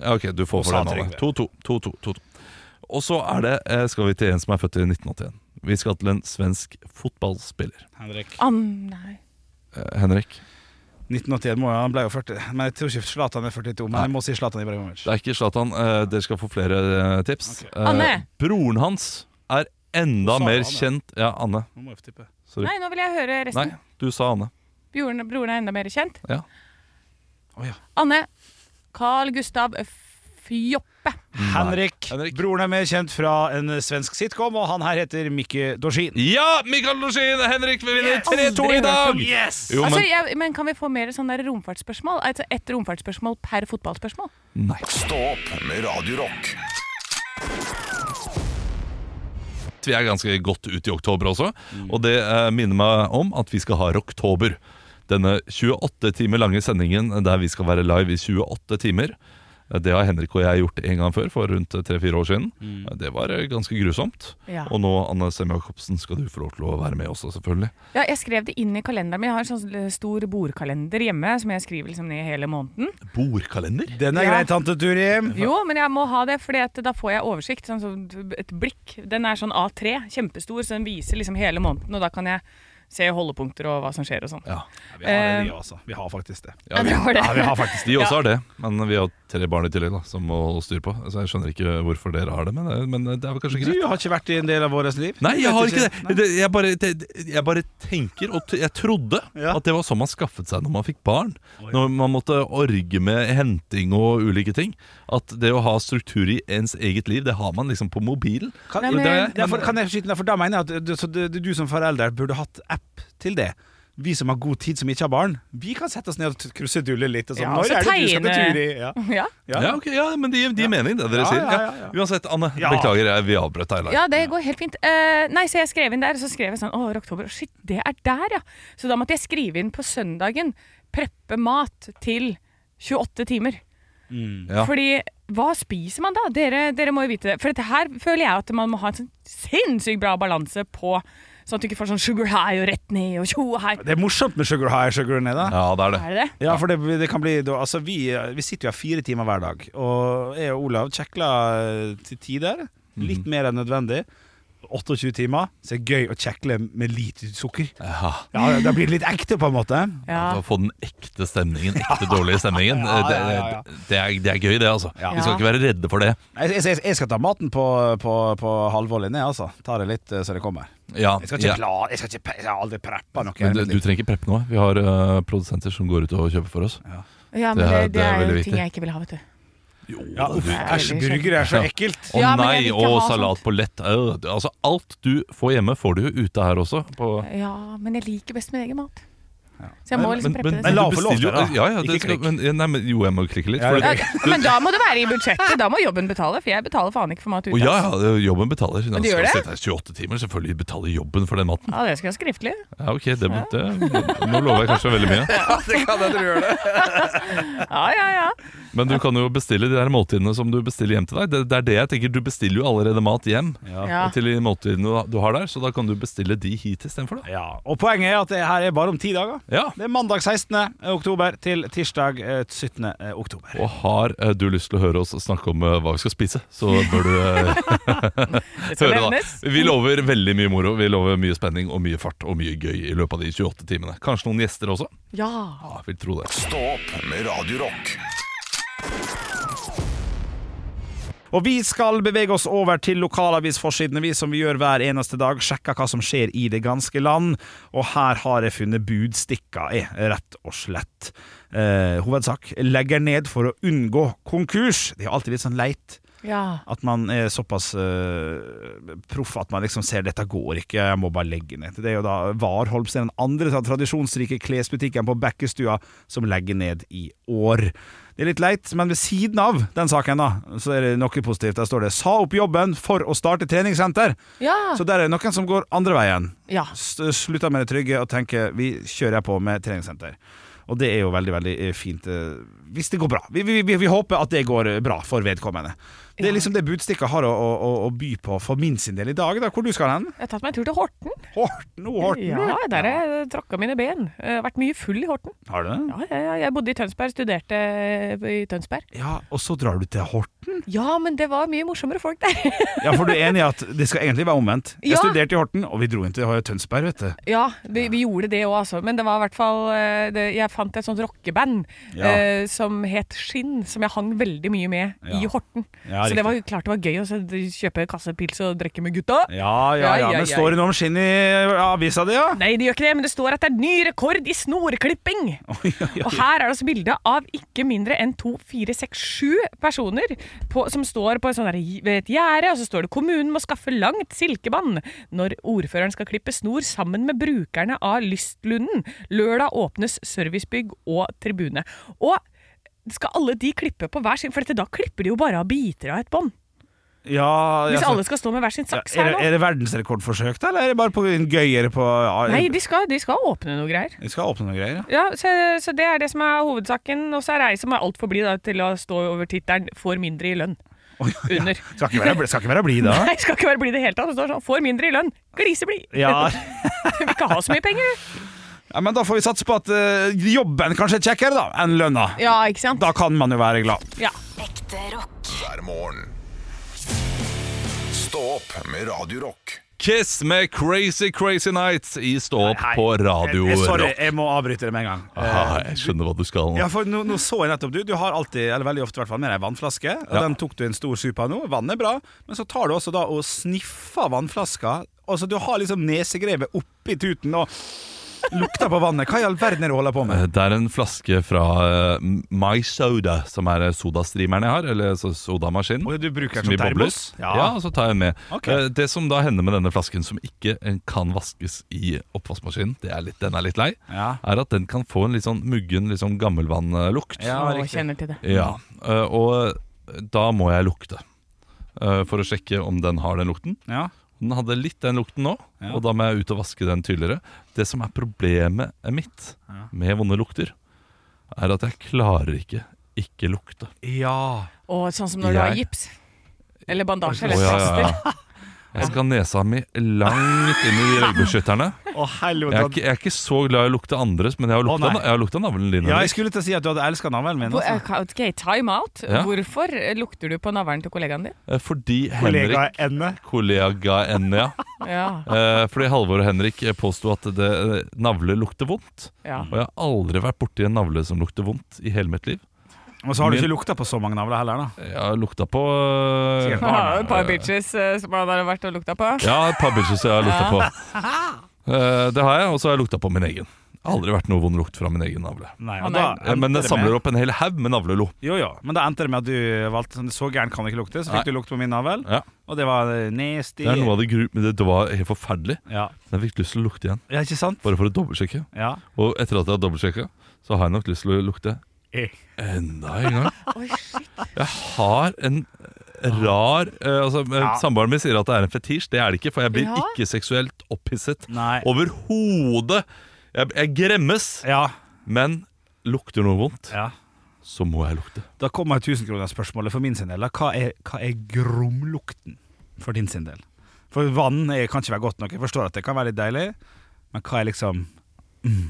[SPEAKER 6] Ja, Ok, du får for
[SPEAKER 2] sa
[SPEAKER 6] den. Anne.
[SPEAKER 2] Trygve.
[SPEAKER 6] 2-2. 2-2, 2-2. Og så er det, eh, skal vi til en som er født i 1981. Vi skal til en svensk fotballspiller.
[SPEAKER 2] Henrik.
[SPEAKER 4] Ann- Nei.
[SPEAKER 6] Eh, Henrik.
[SPEAKER 2] 1981 må jo, han ble jo 40 Men jeg tror ikke Zlatan er 42, men jeg må si Zlatan Ibrahimovic.
[SPEAKER 6] Det er ikke Zlatan. Eh, dere skal få flere eh, tips. Eh,
[SPEAKER 4] Anne.
[SPEAKER 6] broren hans er enda
[SPEAKER 2] Hun sa
[SPEAKER 6] mer
[SPEAKER 2] Anne.
[SPEAKER 6] kjent Ja, Anne.
[SPEAKER 2] Nå må jeg få tippe.
[SPEAKER 6] Sorry.
[SPEAKER 4] Nei, nå vil jeg høre
[SPEAKER 6] Nei,
[SPEAKER 4] resten.
[SPEAKER 6] du sa Anne.
[SPEAKER 4] Broren, broren er enda mer kjent.
[SPEAKER 6] Ja.
[SPEAKER 4] Anne. Carl Gustav Fjoppe.
[SPEAKER 2] Henrik.
[SPEAKER 6] Henrik.
[SPEAKER 2] Broren er mer kjent fra en svensk sitcom, og han her heter Mikke Dorsin.
[SPEAKER 6] Ja, Mikael Dorsin! Henrik vil vinne 3-2 i
[SPEAKER 4] Aldri
[SPEAKER 6] dag!
[SPEAKER 2] Yes!
[SPEAKER 6] Jo,
[SPEAKER 4] Altså,
[SPEAKER 6] men
[SPEAKER 4] jeg, men kan vi få mer sånn der romfartsspørsmål? Altså ett romfartsspørsmål per fotballspørsmål?
[SPEAKER 6] Nei.
[SPEAKER 1] Stå opp med Radio Rock.
[SPEAKER 6] Vi er ganske godt ut i oktober også, og det eh, minner meg om at vi skal ha Rocktober. Denne 28 timer lange sendingen der vi skal være live i 28 timer. Eh, Det har Henrik og jeg gjort en gang før, for rundt 3-4 år siden. Eh, Det var eh, ganske grusomt.
[SPEAKER 4] Ja.
[SPEAKER 6] Og nå, Anne Sem-Jacobsen, skal du få lov til å være med også, selvfølgelig.
[SPEAKER 4] Ja, jeg skrev det inn i kalenderen min. Jeg har en sånn stor bordkalender hjemme som jeg skriver liksom ned hele måneden.
[SPEAKER 6] Bordkalender?
[SPEAKER 2] Den er
[SPEAKER 4] Ja.
[SPEAKER 2] grei, tante Turim.
[SPEAKER 4] Jo, men jeg må ha det, for da får jeg oversikt. Sånn, som et blikk. Den er sånn A3, kjempestor, så den viser liksom hele måneden. Og da kan jeg se holdepunkter og hva som skjer og sånn.
[SPEAKER 6] Ja.
[SPEAKER 2] Vi har, det, vi, altså. vi har faktisk det.
[SPEAKER 6] Ja,
[SPEAKER 4] Ja, det var det.
[SPEAKER 2] Ja, vi har faktisk det.
[SPEAKER 6] De også har det, men vi har tre barn i tillegg da, som må styre på. Så jeg skjønner ikke hvorfor dere har det, men, eh, men det er vel kanskje greit.
[SPEAKER 2] Du har ikke vært i en del av vårt liv?
[SPEAKER 6] Nei, jeg har ikke
[SPEAKER 2] Nei.
[SPEAKER 6] det. det jeg, bare, det, det- jeg bare tenker og t jeg trodde
[SPEAKER 2] Ja.
[SPEAKER 6] at det var sånn man skaffet seg når man fikk barn. Når man måtte orge med henting og ulike ting. At det å ha struktur i ens eget liv, det har man liksom på mobilen.
[SPEAKER 2] Kan,
[SPEAKER 4] Nei, men-
[SPEAKER 2] det er- derfor, kan jeg skyte inn der, for da mener jeg at du, så du, du som forelder burde hatt app til det. Vi som har god tid, som ikke har barn, vi kan sette oss ned og t- krusedulle litt. Og sånn,
[SPEAKER 4] Ja,
[SPEAKER 2] Når
[SPEAKER 4] så
[SPEAKER 2] er det du skal
[SPEAKER 4] tegne-
[SPEAKER 2] til Turi? Ja.
[SPEAKER 4] Ja,
[SPEAKER 6] Ja, ok, ja men det gir det gir mening, det dere
[SPEAKER 2] Ja,
[SPEAKER 6] sier.
[SPEAKER 2] ja, ja, ja.
[SPEAKER 6] Uansett, Anne.
[SPEAKER 2] Ja.
[SPEAKER 6] Beklager, jeg, vi avbrøt deg. Leif.
[SPEAKER 4] ja det går helt fint. Eh, nei, så jeg skrev inn der, og så skrev jeg sånn Å, oktober. Shit, det er der, ja. Så da måtte jeg skrive inn på søndagen. Preppe mat til 28 timer.
[SPEAKER 6] Ja.
[SPEAKER 4] Fordi hva spiser man da? Dere, dere må jo vite det. For dette her føler jeg at man må ha en sånn sinnssykt bra balanse på Sånn at du ikke får sånn sugar high og rett ned og tjo hei.
[SPEAKER 2] Det er morsomt med sugar high, sugar ned, da.
[SPEAKER 6] Ja, det er det.
[SPEAKER 4] Er det det?
[SPEAKER 2] Ja, for det, det kan bli da, Altså, vi, vi sitter jo her fire timer hver dag, og jeg og Olav kjekla eh, til tider.
[SPEAKER 6] Mhm.
[SPEAKER 2] Litt mer enn nødvendig. 28 timer, så det er gøy å kjekle med lite sukker.
[SPEAKER 6] Ja.
[SPEAKER 2] Ja, Da blir det litt ekte, på en måte.
[SPEAKER 4] Ja.
[SPEAKER 6] For å få den ekte stemningen, ekte dårlige stemningen. Eh,
[SPEAKER 2] Ja, ja, ja, ja.
[SPEAKER 6] Det, det, er, det er gøy, det, altså. Vi
[SPEAKER 4] Ja.
[SPEAKER 6] skal ikke være redde for det.
[SPEAKER 2] Jeg, jeg, jeg skal ta maten på, på, på halvvolley ned, altså. Ta det litt eh, så det kommer.
[SPEAKER 6] Ja,
[SPEAKER 2] Jeg skal ikke
[SPEAKER 6] ja.
[SPEAKER 2] pla- jeg, skal ikke, pe- jeg har aldri preppa noe. i
[SPEAKER 6] Men du,
[SPEAKER 2] hele mitt
[SPEAKER 6] du
[SPEAKER 2] liv.
[SPEAKER 6] trenger ikke preppe noe. Vi har eh, produsenter som går ut og kjøper for oss.
[SPEAKER 4] ja, men
[SPEAKER 6] Det
[SPEAKER 4] det,
[SPEAKER 6] er-
[SPEAKER 4] det er
[SPEAKER 6] veldig
[SPEAKER 4] jo
[SPEAKER 6] viktig.
[SPEAKER 4] ting jeg ikke vil ha, vet du.
[SPEAKER 2] ja, uff, æsj, burger er så ekkelt.
[SPEAKER 6] Å
[SPEAKER 4] Ja, men
[SPEAKER 6] nei,
[SPEAKER 4] jeg vil ikke
[SPEAKER 6] og
[SPEAKER 4] ha
[SPEAKER 6] salat
[SPEAKER 4] sånt.
[SPEAKER 6] på lett øh, det- Altså, alt du får hjemme, får du jo ute her også. På
[SPEAKER 4] Ja, men jeg liker best min egen mat. Så jeg må
[SPEAKER 6] Men-
[SPEAKER 4] liksom
[SPEAKER 6] men-
[SPEAKER 4] preppe
[SPEAKER 6] men
[SPEAKER 4] det.
[SPEAKER 2] la
[SPEAKER 6] du
[SPEAKER 2] oss få lov
[SPEAKER 6] bestiller
[SPEAKER 2] til det, da.
[SPEAKER 6] jo- Ja, ja,
[SPEAKER 2] Ikke
[SPEAKER 6] det skal,
[SPEAKER 2] klikk.
[SPEAKER 6] men, nei, men, jo, jeg må klikke litt.
[SPEAKER 2] Ja,
[SPEAKER 6] for
[SPEAKER 2] ja.
[SPEAKER 6] det-
[SPEAKER 4] selv. Ja, men da må det være i budsjettet. Da må jobben betale, for jeg betaler faen ikke for mat ute.
[SPEAKER 6] Å ja,
[SPEAKER 4] altså.
[SPEAKER 6] ja, jobben betaler.
[SPEAKER 4] Men
[SPEAKER 6] Den
[SPEAKER 4] det gjør
[SPEAKER 6] skal
[SPEAKER 4] det?
[SPEAKER 6] sitte her 28 timer. Selvfølgelig betaler jobben for den maten.
[SPEAKER 4] ja, det skal jeg ha skriftlig.
[SPEAKER 6] Ja, ok, det, det, Nå lover jeg kanskje veldig mye.
[SPEAKER 4] Ja, ja, ja.
[SPEAKER 6] Men du kan jo bestille de der måltidene som du bestiller hjem til deg. Det, det er det jeg tenker, Du bestiller jo allerede mat hjem
[SPEAKER 4] Ja.
[SPEAKER 6] til de måltidene du har der, så da kan du bestille de hit istedenfor. da.
[SPEAKER 2] Ja, og poenget er at det her er bare om ti dager.
[SPEAKER 6] Ja.
[SPEAKER 2] Det er mandag 16. oktober til tirsdag eh, 17. oktober.
[SPEAKER 6] Og har eh, du lyst til å høre oss snakke om eh, hva vi skal spise, så bør du eh,
[SPEAKER 4] Det skal
[SPEAKER 6] høre da.
[SPEAKER 4] nevnes.
[SPEAKER 6] Vi lover veldig mye moro. Vi lover mye spenning og mye fart og mye gøy i løpet av de 28 timene. Kanskje noen gjester også?
[SPEAKER 4] Ja.
[SPEAKER 6] Ja, jeg vil tro det.
[SPEAKER 1] Stå opp med Radio Rock.
[SPEAKER 2] Og vi skal bevege oss over til lokalavisforsidene, vi som vi gjør hver eneste dag. Sjekker hva som skjer i det ganske land. Og her har jeg funnet budstikker, jeg, rett og slett. Eh, hovedsak legger ned for å unngå konkurs. Det er alltid litt sånn leit.
[SPEAKER 4] ja.
[SPEAKER 2] At man er såpass eh, proff at man liksom ser dette går ikke, jeg må bare legge ned. Det er jo da Warholms, den andre sånn tradisjonsrike klesbutikken på Bekkestua, som legger ned i år. Det er litt leit, men ved siden av den saken da, så er det noe positivt. Der står det 'sa opp jobben for å starte treningssenter'.
[SPEAKER 4] Ja.
[SPEAKER 2] Så der er det noen som går andre veien.
[SPEAKER 4] ja.
[SPEAKER 2] S- Slutter med det trygge og tenker 'vi kjører på med treningssenter'. Og det er jo veldig veldig eh, fint eh, hvis det går bra. Vi, vi, vi, vi håper at det går eh, bra for vedkommende. Det er liksom det budstikka har å, å, å- å by på for min sin del i dag. Da. Hvor du skal hen?
[SPEAKER 4] Jeg har tatt meg en tur til Horten.
[SPEAKER 2] Horten, oh, Horten du.
[SPEAKER 4] Ja, der har jeg tråkka mine ben. Jeg har vært mye full i Horten.
[SPEAKER 2] Har du det?
[SPEAKER 4] Ja, ja, ja. Jeg bodde i Tønsberg, studerte eh, i Tønsberg.
[SPEAKER 2] Ja, og så drar du til Horten.
[SPEAKER 4] Ja, men det var mye morsommere folk der.
[SPEAKER 2] Ja, for du er enig i at det skal egentlig være omvendt. Jeg
[SPEAKER 4] Ja.
[SPEAKER 2] studerte i Horten, og vi dro inn til Tønsberg, vet du.
[SPEAKER 4] Ja, vi, vi gjorde det òg, altså. Men det var i hvert fall eh, det, Jeg fant et sånt rockeband
[SPEAKER 2] Ja.
[SPEAKER 4] eh, som het Skinn, som jeg hang veldig mye med
[SPEAKER 2] Ja.
[SPEAKER 4] i Horten.
[SPEAKER 2] Ja,
[SPEAKER 4] så
[SPEAKER 2] riktig.
[SPEAKER 4] det var jo klart det var gøy å så kjøpe en kasse pils og drikke med gutta.
[SPEAKER 2] Ja, ja,
[SPEAKER 4] Ja,
[SPEAKER 2] ja.
[SPEAKER 4] ja,
[SPEAKER 2] Men
[SPEAKER 4] ja.
[SPEAKER 2] står det noe om skinn i avisa di, ja?
[SPEAKER 4] Nei, det gjør ikke det, men det står at det er ny rekord i snorklipping. Og her er det også bilde av ikke mindre enn to, fire, seks, sju personer på, som står på et sånt der- ved et gjerde, og så står det 'Kommunen må skaffe langt silkebånd' når ordføreren skal klippe snor sammen med brukerne av Lystlunden. Lørdag åpnes servicebygg og tribune. Og skal alle de klippe på hver sin, for dette, da klipper de jo bare av biter av et bånd.
[SPEAKER 2] Ja,
[SPEAKER 4] Hvis
[SPEAKER 2] ja, så-
[SPEAKER 4] alle skal stå med hver sin
[SPEAKER 2] Ja,
[SPEAKER 4] saks
[SPEAKER 2] er,
[SPEAKER 4] her
[SPEAKER 2] det, er
[SPEAKER 4] nå.
[SPEAKER 2] det verdensrekordforsøk, da, eller er det bare på en gøyere på
[SPEAKER 4] Nei, de skal, de skal åpne noe greier.
[SPEAKER 2] Vi skal åpne noen greier, ja.
[SPEAKER 4] Ja, så, så det er det som er hovedsaken. Og så er det ei som er altfor blid da, til å stå over tittelen 'får mindre i lønn'. Under.
[SPEAKER 2] Skal ikke være, skal ikke være blid da.
[SPEAKER 4] Nei, skal ikke være blid i det hele tatt. Det står sånn 'får mindre i lønn'. Griseblid.
[SPEAKER 2] Ja.
[SPEAKER 4] Vil ikke ha så mye penger.
[SPEAKER 2] ja, men da får vi satse på at eh, jobben kanskje er kjekkere da, enn lønna.
[SPEAKER 4] Ja, ikke sant?
[SPEAKER 2] Da kan man jo være glad.
[SPEAKER 4] Ja.
[SPEAKER 9] Ekte rock.
[SPEAKER 1] hver morgen. Stå opp med Radio Rock.
[SPEAKER 6] Kiss med Crazy Crazy Nights i Stå opp på Radio
[SPEAKER 2] jeg, jeg, Eh, sorry,
[SPEAKER 6] Rock.
[SPEAKER 2] jeg må avbryte det med en gang.
[SPEAKER 6] Ah, jeg skjønner hva du skal nå.
[SPEAKER 2] Ja, for nå, nå så jeg nettopp Du Du har alltid, eller veldig ofte i hvert fall, med deg vannflaske. Og
[SPEAKER 6] Ja.
[SPEAKER 2] Den tok du en stor sup av nå. Vannet er bra. Men så tar du også da og sniffer vannflaska. Altså, du har liksom nesegrevet oppi tuten og lukter på vannet. Hva i all verden er det du holder på med?
[SPEAKER 6] Eh, Det er en flaske fra eh, My Soda, som er eh, sodastreameren jeg har. Eller så sodamaskinen.
[SPEAKER 2] Og du bruker den
[SPEAKER 6] Som i
[SPEAKER 2] som
[SPEAKER 6] bobler.
[SPEAKER 2] termos?
[SPEAKER 6] Ja. og så tar jeg den med.
[SPEAKER 2] Ok.
[SPEAKER 6] Eh, Det som da hender med denne flasken, som ikke eh, kan vaskes i oppvaskmaskinen, det er litt, den er litt lei,
[SPEAKER 2] Ja.
[SPEAKER 6] er at den kan få en litt sånn muggen litt sånn gammelvannlukt.
[SPEAKER 2] Ja,
[SPEAKER 4] Å,
[SPEAKER 2] riktig.
[SPEAKER 4] kjenner til det.
[SPEAKER 6] Ja, eh, og da må jeg lukte eh, for å sjekke om den har den lukten.
[SPEAKER 2] Ja.
[SPEAKER 6] Den hadde litt den lukten nå, og da må jeg ut og vaske den tydeligere. Det som er problemet mitt med vonde lukter, er at jeg klarer ikke ikke lukte.
[SPEAKER 2] ja.
[SPEAKER 4] Og sånn som når du har
[SPEAKER 6] Jeg-
[SPEAKER 4] gips. Eller bandasje
[SPEAKER 6] Å,
[SPEAKER 4] eller
[SPEAKER 6] ja,
[SPEAKER 4] plaster.
[SPEAKER 6] ja, ja. Jeg skal ha nesa mi langt inn i de røykbeskytterne.
[SPEAKER 2] Å,
[SPEAKER 6] Jeg er,
[SPEAKER 2] helvete.
[SPEAKER 6] ikke, jeg er ikke så glad i å lukte andres, men jeg har
[SPEAKER 2] Å,
[SPEAKER 6] lukta,
[SPEAKER 2] nei.
[SPEAKER 6] jeg har lukta navlen din.
[SPEAKER 2] Ja,
[SPEAKER 6] Henrik.
[SPEAKER 2] jeg skulle til å si at du hadde elska navlen min.
[SPEAKER 4] Hvor-
[SPEAKER 2] Altså.
[SPEAKER 4] eh, Ok, time out.
[SPEAKER 6] Ja.
[SPEAKER 4] Hvorfor lukter du på navlen til kollegaen din?
[SPEAKER 6] Eh, Fordi
[SPEAKER 2] Kollega
[SPEAKER 6] Henrik
[SPEAKER 2] Enne.
[SPEAKER 6] Kollega Enja.
[SPEAKER 4] Ja,
[SPEAKER 6] Eh, fordi Halvor og Henrik påsto at det, eh, navle lukter vondt.
[SPEAKER 4] ja.
[SPEAKER 6] Og jeg har aldri vært borti en navle som lukter vondt i hele mitt liv.
[SPEAKER 2] Og så har du ikke lukta på så mange navler heller, da.
[SPEAKER 6] Jeg har lukta på
[SPEAKER 2] Sikkert
[SPEAKER 6] eh,
[SPEAKER 4] Jeg har
[SPEAKER 2] barn.
[SPEAKER 4] jo et par bitches eh, som han har vært og lukta på.
[SPEAKER 6] Ja, et par bitches jeg har lukta på. Eh, det har jeg, og så har jeg lukta på min egen. Aldri vært noe vond lukt fra min egen navle.
[SPEAKER 2] Nei,
[SPEAKER 4] Å,
[SPEAKER 2] og
[SPEAKER 4] nei.
[SPEAKER 2] da
[SPEAKER 6] Eh, Men
[SPEAKER 2] endte
[SPEAKER 6] jeg
[SPEAKER 2] det
[SPEAKER 6] samler
[SPEAKER 2] med-
[SPEAKER 6] opp en hel haug med navlelo.
[SPEAKER 2] Jo, jo. Men da endte det med at du valgte sånn, Så gæren kan det ikke lukte, så
[SPEAKER 6] Nei.
[SPEAKER 2] fikk du lukt på min navel.
[SPEAKER 6] Ja,
[SPEAKER 2] Og det var eh, nasty.
[SPEAKER 6] det er noe av det gru... men Det det var helt forferdelig.
[SPEAKER 2] Ja.
[SPEAKER 6] Men Jeg fikk lyst til å lukte igjen,
[SPEAKER 2] ja, ikke sant?
[SPEAKER 6] bare for å dobbeltsjekke.
[SPEAKER 2] Ja.
[SPEAKER 6] Og etter at jeg har dobbeltsjekka, så har jeg nok lyst til å lukte
[SPEAKER 2] Eh.
[SPEAKER 6] enda en gang. Jeg har en rar eh, altså, eh, Samboeren min sier at det er en fetisj. Det er det ikke, for jeg blir
[SPEAKER 4] Ja.
[SPEAKER 6] ikke seksuelt opphisset
[SPEAKER 2] Nei.
[SPEAKER 6] overhodet. Jeg, jeg gremmes,
[SPEAKER 2] Ja.
[SPEAKER 6] men lukter noe vondt,
[SPEAKER 2] ja.
[SPEAKER 6] så må jeg lukte.
[SPEAKER 2] Da kommer tusenkronersspørsmålet for min sin del. da. Hva er, hva er gromlukten for din sin del? For vann er, kan ikke være godt nok. Jeg forstår at det kan være litt deilig, men hva er liksom mm,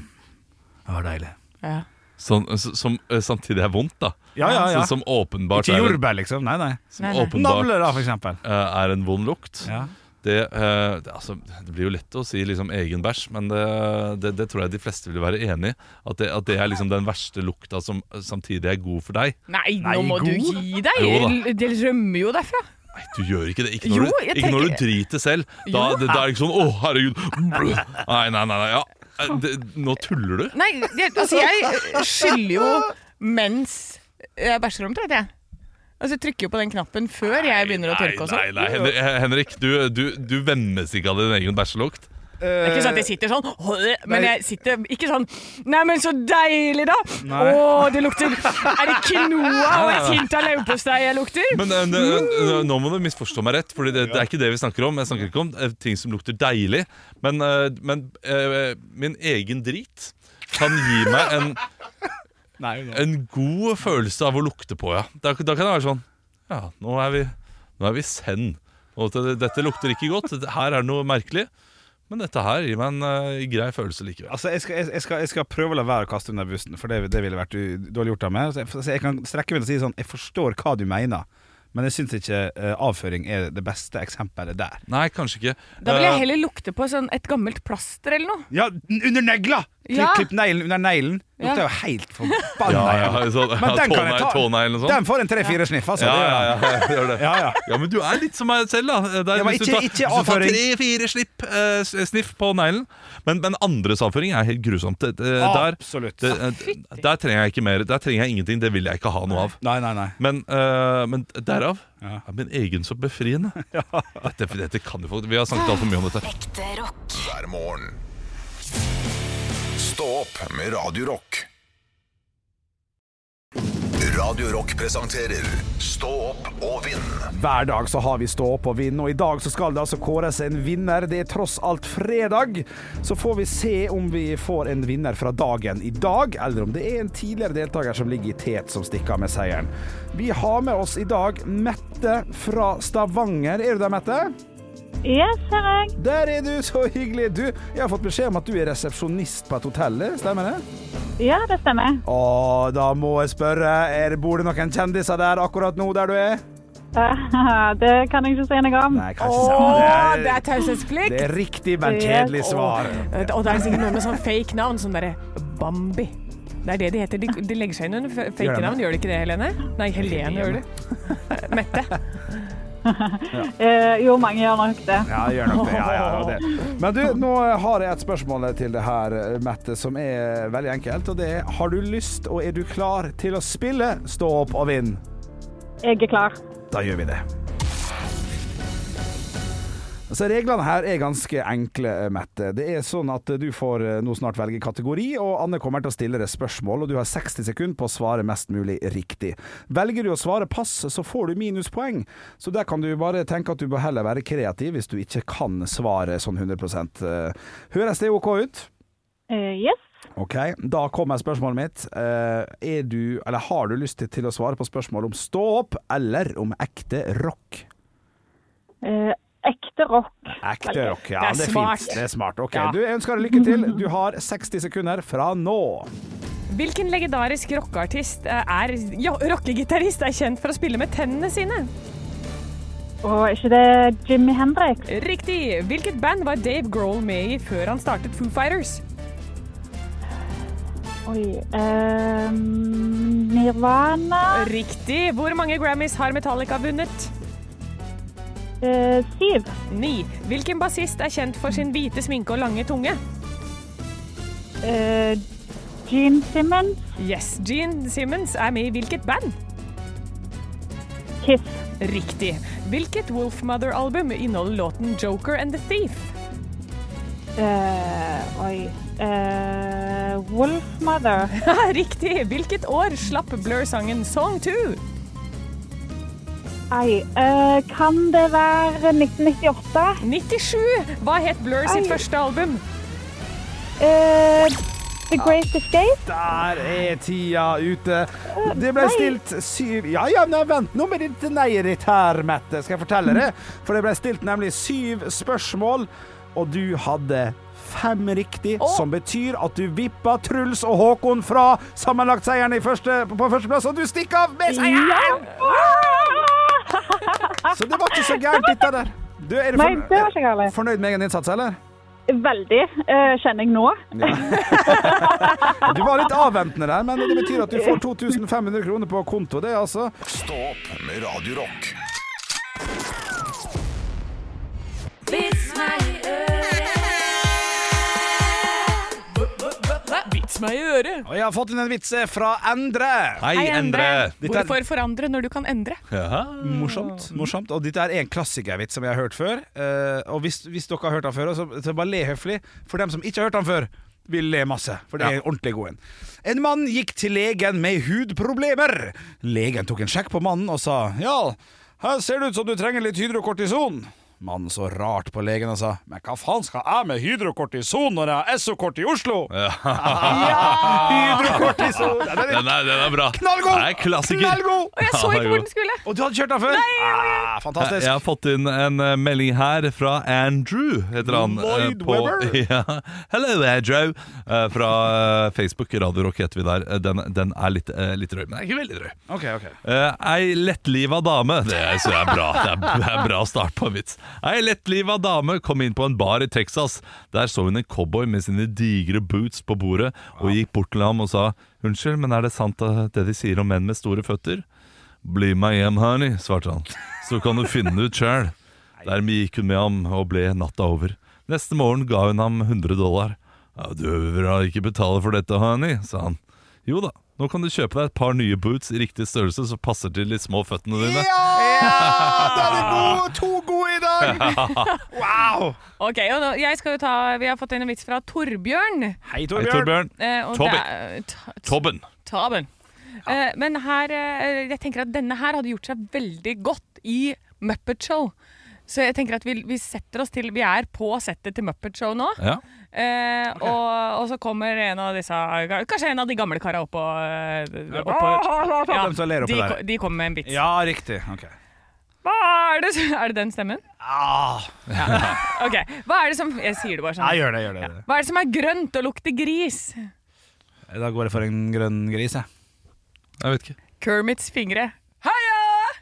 [SPEAKER 2] Det var deilig.
[SPEAKER 4] Ja.
[SPEAKER 6] Sånn, s- som eh, samtidig er vondt, da.
[SPEAKER 2] Ja, ja, ja.
[SPEAKER 6] Sånn som åpenbart
[SPEAKER 2] Ikke
[SPEAKER 6] er en,
[SPEAKER 2] jordbær, liksom. Nei, nei.
[SPEAKER 6] som
[SPEAKER 4] Nei, nei.
[SPEAKER 6] åpenbart,
[SPEAKER 2] Navler, da, for eksempel.
[SPEAKER 6] eh, er en vond lukt.
[SPEAKER 2] Ja.
[SPEAKER 6] Det, eh, det, altså, det blir jo lett å si liksom egen bæsj, men det, det, det tror jeg de fleste vil være enig i. At det, at det er liksom den verste lukta som samtidig er god for deg.
[SPEAKER 4] Nei,
[SPEAKER 2] Nei,
[SPEAKER 4] nå må
[SPEAKER 2] god.
[SPEAKER 4] du gi deg!
[SPEAKER 6] Jo da.
[SPEAKER 4] L- Det rømmer jo derfra.
[SPEAKER 6] Nei, du gjør ikke det. Ikke når,
[SPEAKER 4] Jo,
[SPEAKER 6] du,
[SPEAKER 4] jeg
[SPEAKER 6] ikke når du
[SPEAKER 4] tenker-
[SPEAKER 6] driter selv. Da,
[SPEAKER 4] Jo.
[SPEAKER 6] det, da er det ikke sånn 'Å, herregud'. Blø. Nei, nei, nei. nei ja. Eh, det, nå tuller du.
[SPEAKER 4] Nei, det, altså jeg skyller jo mens jeg bæsjer omtrent, jeg. Altså jeg trykker jo på den knappen før jeg begynner å tørke og
[SPEAKER 6] nei,
[SPEAKER 4] sånn.
[SPEAKER 6] nei, nei. Hen- Henrik, du, du, du vemmes ikke av din egen bæsjelukt.
[SPEAKER 4] Det er ikke sånn at jeg sitter sånn, «Åh», men jeg sitter ikke sånn Nei, men så deilig, da!
[SPEAKER 2] Nei.
[SPEAKER 4] Å, det lukter Er det quinoa og et hint av leverpostei jeg lukter?
[SPEAKER 6] Men eh, n- n- nå må du misforstå meg rett, Fordi det, det er ikke det vi snakker om. Jeg snakker ikke om eh, ting som lukter deilig. Men, eh, men eh, min egen drit kan gi meg en, en god følelse av å lukte på, ja. Da, da kan det være sånn Ja, nå er vi, nå er vi send. Og det, dette lukter ikke godt. Dette- Her er det noe merkelig. Men dette her gir meg en eh, grei følelse likevel.
[SPEAKER 2] Altså, jeg skal, jeg, jeg, skal, jeg skal prøve å la være å kaste under bussen, for det, det ville vært u- dårlig gjort av meg. Så jeg, så jeg kan strekke meg til å si sånn Jeg forstår hva du mener, men jeg syns ikke eh, avføring er det beste eksempelet der.
[SPEAKER 6] Nei, kanskje ikke.
[SPEAKER 4] Da vil
[SPEAKER 6] Eh,
[SPEAKER 4] jeg heller lukte på sånn et gammelt plaster eller noe.
[SPEAKER 2] Ja, n- under negla! Klipp,
[SPEAKER 4] Ja.
[SPEAKER 2] klipp neglen under neglen.
[SPEAKER 4] Ja.
[SPEAKER 2] Lukter jo helt forbanna.
[SPEAKER 6] ja, ja,
[SPEAKER 2] jævlig.
[SPEAKER 6] sånn,
[SPEAKER 2] Men
[SPEAKER 6] ja,
[SPEAKER 2] den kan jeg
[SPEAKER 6] tånegle-
[SPEAKER 2] ta.
[SPEAKER 6] Tåneglen og sånn.
[SPEAKER 2] Den får en tre-fire sniff, altså.
[SPEAKER 6] Ja,
[SPEAKER 2] det gjør den.
[SPEAKER 6] ja, ja, jeg gjør det.
[SPEAKER 2] Ja, ja.
[SPEAKER 6] Ja, men du er litt som meg selv, da. Det er-
[SPEAKER 2] Ja, men
[SPEAKER 6] hvis
[SPEAKER 2] ikke- ikke
[SPEAKER 6] du tar, hvis du tar
[SPEAKER 2] avføring.
[SPEAKER 6] tre-fire snipp, eh, s- sniff på neglen. Men, men andres avføring er helt grusomt. Det, det,
[SPEAKER 2] Ah,
[SPEAKER 6] der,
[SPEAKER 2] Absolutt.
[SPEAKER 6] det, eh, der trenger jeg ikke mer. Der trenger jeg ingenting. Det vil jeg ikke ha noe av.
[SPEAKER 2] Nei, nei, nei.
[SPEAKER 6] Men, eh, men derav
[SPEAKER 2] Ja.
[SPEAKER 6] er min egen så befriende. Dette, dette kan jo folk Vi har snakket altfor mye om dette.
[SPEAKER 3] Ekte rock.
[SPEAKER 1] hver morgen. Stå opp med Radio Rock. Radio Rock presenterer Stå opp og vinn
[SPEAKER 2] Hver dag så har vi stå opp og vinne, og i dag så skal det altså kåres en vinner. Det er tross alt fredag. Så får vi se om vi får en vinner fra dagen i dag, eller om det er en tidligere deltaker som ligger i tet som stikker av med seieren. Vi har med oss i dag Mette fra Stavanger. Er du der, Mette?
[SPEAKER 10] Yes, her er jeg.
[SPEAKER 2] Der er du, så hyggelig. Du, jeg har fått beskjed om at du er resepsjonist på et hotell, stemmer det?
[SPEAKER 10] Ja, det stemmer.
[SPEAKER 2] Å, da må jeg spørre, er, bor det noen kjendiser der akkurat nå der du er?
[SPEAKER 10] Eh, Det kan jeg ikke si noe om.
[SPEAKER 2] Nei, kanskje
[SPEAKER 4] Å, det
[SPEAKER 2] det.
[SPEAKER 4] er taushetsplikt!
[SPEAKER 2] Det er riktig, men kjedelig svar.
[SPEAKER 4] Og, og det er sikkert noe med sånn fake navn, sånn derre Bambi. Det er det de heter. De, de legger seg inn under f-
[SPEAKER 2] Gjør
[SPEAKER 4] fake
[SPEAKER 2] de
[SPEAKER 4] navn,
[SPEAKER 2] det?
[SPEAKER 4] gjør de ikke det, Helene? Nei, Helene gjør det. Mette.
[SPEAKER 10] Eh, Jo, mange gjør nok det.
[SPEAKER 2] Ja, gjør nok det. Ja, ja, og det. Men du, nå har jeg et spørsmål til det her, Mette, som er veldig enkelt. Og det er Har du lyst, og er du klar til å spille Stå opp og vinn?
[SPEAKER 10] Jeg er klar.
[SPEAKER 2] Da gjør vi det. Så Reglene her er ganske enkle, Mette. Det er sånn at Du får eh, nå snart velge kategori, og Anne kommer til å stille deg spørsmål. og Du har 60 sekunder på å svare mest mulig riktig. Velger du å svare pass, så får du minuspoeng. Så der kan du bare tenke at du bør heller være kreativ hvis du ikke kan svare sånn 100 Eh, Høres det OK ut?
[SPEAKER 10] Eh, Yes.
[SPEAKER 2] Ok, Da kommer spørsmålet mitt. Eh, Er du, eller Har du lyst til å svare på spørsmål om stå opp eller om ekte rock?
[SPEAKER 10] Eh, Ekte rock.
[SPEAKER 2] Ekte rock. Ja,
[SPEAKER 4] Det er
[SPEAKER 2] det er
[SPEAKER 4] smart.
[SPEAKER 2] fint. Det er smart. Ok,
[SPEAKER 4] Ja.
[SPEAKER 2] du, jeg ønsker deg lykke til. Du har 60 sekunder fra nå.
[SPEAKER 4] Hvilken legendarisk rockeartist eh, er ja, rockegitarist er kjent for å spille med tennene sine?
[SPEAKER 10] Og er ikke det Jimmy Hendrix?
[SPEAKER 4] Riktig. Hvilket band var Dave Grohl med i før han startet Foo Fighters?
[SPEAKER 10] Oi. ehm, Nirvana
[SPEAKER 4] Riktig. Hvor mange Grammys har Metallica vunnet?
[SPEAKER 10] eh, Syv.
[SPEAKER 4] Ni. Hvilken bassist er kjent for sin hvite sminke og lange tunge?
[SPEAKER 10] Eh, Gene Simmons.
[SPEAKER 4] Yes. Gene Simmons er med i hvilket band?
[SPEAKER 10] Kiss.
[SPEAKER 4] Riktig. Hvilket Wolfmother-album inneholder låten 'Joker and the Thief'?
[SPEAKER 10] Eh, oi. Eh, Wolfmother.
[SPEAKER 4] Riktig. Hvilket år slapp Blur sangen 'Song 2'?
[SPEAKER 10] Ei. eh, kan det være 1998?
[SPEAKER 4] 97. Hva het Blur sitt
[SPEAKER 10] Ai.
[SPEAKER 4] første album?
[SPEAKER 10] Eh, The Great Escape?
[SPEAKER 2] Der er tida ute. Det ble stilt syv Ja ja, men vent nå med ditt neiet ditt her, Mette. Skal jeg fortelle
[SPEAKER 4] Mm.
[SPEAKER 2] det? For det ble stilt nemlig syv spørsmål, og du hadde fem riktig, som betyr at du vippa Truls og Håkon fra sammenlagtseieren i første, på førsteplass, og du stikker av med seieren! Så det var ikke så gærent, dette der. Du, er du
[SPEAKER 10] Nei, det var
[SPEAKER 2] fornøyd,
[SPEAKER 10] ikke galt.
[SPEAKER 2] fornøyd med egen innsats, eller?
[SPEAKER 10] Veldig, eh, kjenner jeg nå.
[SPEAKER 2] Du var litt avventende der, men det betyr at du får 2500 kroner på konto. Det er altså
[SPEAKER 1] Stå opp med Radio Rock.
[SPEAKER 4] Vits meg i øret.
[SPEAKER 2] Og jeg har fått inn en vits eh, fra Endre.
[SPEAKER 6] Hei, Endre.
[SPEAKER 2] Dette er-
[SPEAKER 11] Hvorfor forandre når du kan endre?
[SPEAKER 6] Jaha.
[SPEAKER 2] Morsomt. morsomt Og dette er en klassikervits som jeg har hørt før. Eh, og hvis, hvis dere har hørt den før, så, så bare le høflig. For dem som ikke har hørt den før, vil le masse. For det er en ordentlig god en. En mann gikk til legen med hudproblemer. Legen tok en sjekk på mannen og sa Ja, her ser det ut som du trenger litt hydrokortison. Mannen så rart på legen og sa Men hva faen skal jeg med hydrokortison når jeg har SO-kort i Oslo? Ja, hydrokortison Ja, den er
[SPEAKER 6] Den er, den er bra.
[SPEAKER 2] Knallgod!
[SPEAKER 6] Det er klassiker.
[SPEAKER 2] Knallgod!
[SPEAKER 4] Og jeg så ikke hvor den skulle.
[SPEAKER 2] Og du hadde kjørt den før? ah, fantastisk.
[SPEAKER 6] Jeg har fått inn en eh, melding her fra Andrew, heter han. eh,
[SPEAKER 2] Lloyd Webber?
[SPEAKER 6] ja. Hello, Andrew. Eh, Fra eh, Facebook, Radio Rock heter vi der. Eh, Den, den er litt, eh, litt drøy, men den er ikke veldig drøy.
[SPEAKER 2] Ok, ok
[SPEAKER 6] Eh, ei lettliva dame Det er, så det er bra, det er, det er bra start på en vits. Ei lettliva dame kom inn på en bar i Texas. Der så hun en cowboy med sine digre boots på bordet og gikk bort til ham og sa Unnskyld, men er det sant eh, det de sier om menn med store føtter? Bli meg hjem, honey, svarte han. Så kan du finne det ut sjæl. Dermed gikk hun med ham og ble natta over. Neste morgen ga hun ham 100 dollar. Ja, du vil ikke betale for dette, honey, sa han. Jo da, nå kan du kjøpe deg et par nye boots i riktig størrelse som passer til de små føttene dine.
[SPEAKER 2] Da er det god, to gode i dag! Wow!
[SPEAKER 4] Ok, og nå, jeg skal jo ta, Vi har fått inn en vits fra Torbjørn.
[SPEAKER 2] Hei,
[SPEAKER 6] Hei,
[SPEAKER 2] Torbjørn.
[SPEAKER 6] Torbjørn.
[SPEAKER 4] Eh, og
[SPEAKER 6] Tobbe.
[SPEAKER 4] det er- ta-
[SPEAKER 6] Tobben.
[SPEAKER 4] Taben. Eh, men her, eh, jeg tenker at denne her hadde gjort seg veldig godt i Muppet Show. Så jeg tenker at vi, vi setter oss til Vi er på settet til Muppet Show nå.
[SPEAKER 6] Ja.
[SPEAKER 4] Eh, og, og så kommer en av disse Kanskje en av de gamle kara oppå, eh,
[SPEAKER 2] Ah,
[SPEAKER 4] oppå ja,
[SPEAKER 2] Dem som ler oppe
[SPEAKER 4] de,
[SPEAKER 2] der.
[SPEAKER 4] ko- de kommer med en vits.
[SPEAKER 2] Ja, riktig. Ok.
[SPEAKER 4] Hva er det som- Er det den stemmen?
[SPEAKER 2] Ah,
[SPEAKER 4] Ok, Hva er det som Jeg sier det bare
[SPEAKER 2] jeg
[SPEAKER 4] sånn.
[SPEAKER 2] gjør det, gjør det.
[SPEAKER 4] Hva er det som er grønt og lukter gris?
[SPEAKER 2] Da går jeg for en grønn gris, jeg.
[SPEAKER 6] Jeg vet ikke.
[SPEAKER 4] Kermits fingre. Heia!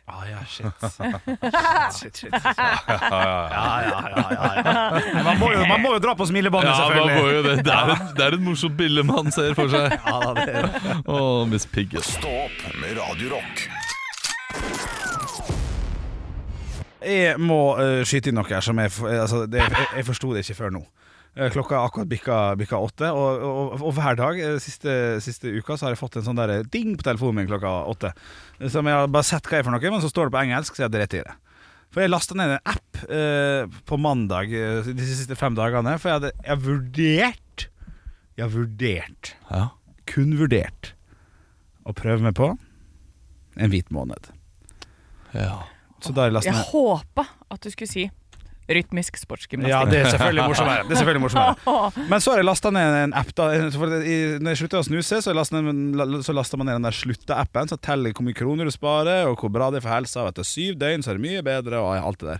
[SPEAKER 2] Ah, ja, shit. shit, shit, shit. Ja, ja, ja, ja, ja. Man, må jo, man må jo dra på smilebåndet,
[SPEAKER 6] Ja, man må
[SPEAKER 2] selvfølgelig.
[SPEAKER 6] jo det. Det er, et, det er et morsomt bilde man ser for seg.
[SPEAKER 2] Ja, da, det er.
[SPEAKER 6] Å, Miss Piggy.
[SPEAKER 1] Stå opp med Radio Rock.
[SPEAKER 2] Jeg må eh, skyte inn noe her som jeg, f- altså, det, jeg, jeg forsto det ikke før nå. Eh, Klokka er akkurat bikka, bikka åtte, og, og, og hver dag eh, siste, siste uka så har jeg fått en sånn der ding på telefonen min klokka åtte. Eh, Som jeg har bare sett hva er for noe, men så står det på engelsk, så jeg driter i det. For jeg lasta ned en app eh, på mandag eh, de siste fem dagene, for jeg hadde jeg har vurdert Jeg har vurdert,
[SPEAKER 6] Ja.
[SPEAKER 2] kun vurdert, å prøve meg på en hvit måned.
[SPEAKER 6] Ja.
[SPEAKER 2] Så da har jeg lasta
[SPEAKER 4] Jeg
[SPEAKER 2] ned
[SPEAKER 4] håpa at du skulle si rytmisk sportsgymnastikk.
[SPEAKER 2] Ja, det er selvfølgelig morsommere. Det er selvfølgelig morsommere. Men så har jeg lasta ned en app. da for det- i- Når jeg slutta å snuse, så lasta man ned den der slutta-appen. Så teller hvor mye kroner du sparer, og hvor bra det er for helsa. Og etter syv døgn så er det mye bedre, og alt det der.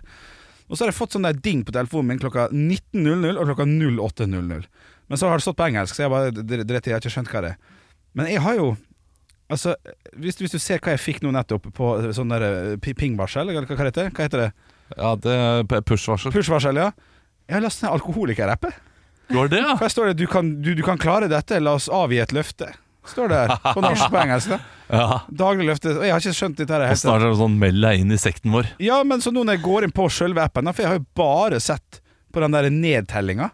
[SPEAKER 2] Og så har jeg fått sånn der ding på telefonen min klokka 19.00 og klokka 08.00. Men så har det stått på engelsk, så jeg bare dr- dreit i, jeg har ikke skjønt hva det er. Men jeg har jo Altså, hvis, hvis du ser hva jeg fikk nå nettopp på sånn der eh, pi- pingvarsel, eller hva hva heter det? Hva heter det?
[SPEAKER 6] Ja, det er Eh, push-varsel.
[SPEAKER 2] Pushvarsel, ja. Jeg har lastet ned alkoholikeræppet.
[SPEAKER 6] Du har det, ja?
[SPEAKER 2] Her står det du kan, du, 'Du kan klare dette, la oss avgi et løfte'. Står det her. På norsk på engelsk. da
[SPEAKER 6] ja.
[SPEAKER 2] Daglig løfte. Og jeg har ikke skjønt dette her.
[SPEAKER 6] Og
[SPEAKER 2] helt.
[SPEAKER 6] snart er det sånn Meld deg inn i sekten vår.
[SPEAKER 2] Ja, men så nå når jeg går inn på sjølve appen, da, for jeg har jo bare sett på den der nedtellinga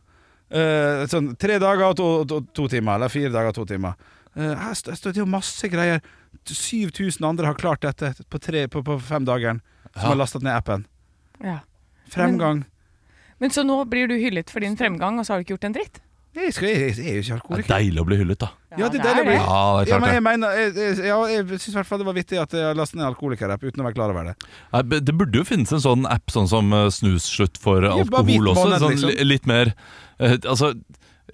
[SPEAKER 2] Eh, Sånn tre dager og to, to, to timer, eller fire dager og to timer. Eh, her står står det jo masse greier. 7000 andre har klart dette på, tre, på, på fem dager, som
[SPEAKER 6] Ja.
[SPEAKER 2] har lastet ned appen.
[SPEAKER 4] Ja.
[SPEAKER 2] Fremgang.
[SPEAKER 4] Men så nå blir du hyllet for din fremgang, og så har du ikke gjort en dritt?
[SPEAKER 2] Jeg, skal, jeg, jeg er jo ikke
[SPEAKER 6] Det er
[SPEAKER 2] alkoholiker.
[SPEAKER 6] deilig å bli hyllet, da.
[SPEAKER 2] Ja, det er deilig å bli.
[SPEAKER 6] Ja, det er
[SPEAKER 2] Ja, men
[SPEAKER 6] klart det.
[SPEAKER 2] jeg mener Jeg, jeg, ja, jeg syns i hvert fall det var vittig at jeg har lastet ned alkoholikerapp uten å være klar over det.
[SPEAKER 6] Nei, b- Det burde jo finnes en sånn app sånn som eh, snusslutt for eh,
[SPEAKER 2] Ja, bare hvit
[SPEAKER 6] alkohol også.
[SPEAKER 2] måned,
[SPEAKER 6] Sånn,
[SPEAKER 2] liksom.
[SPEAKER 6] li- litt mer eh, Altså,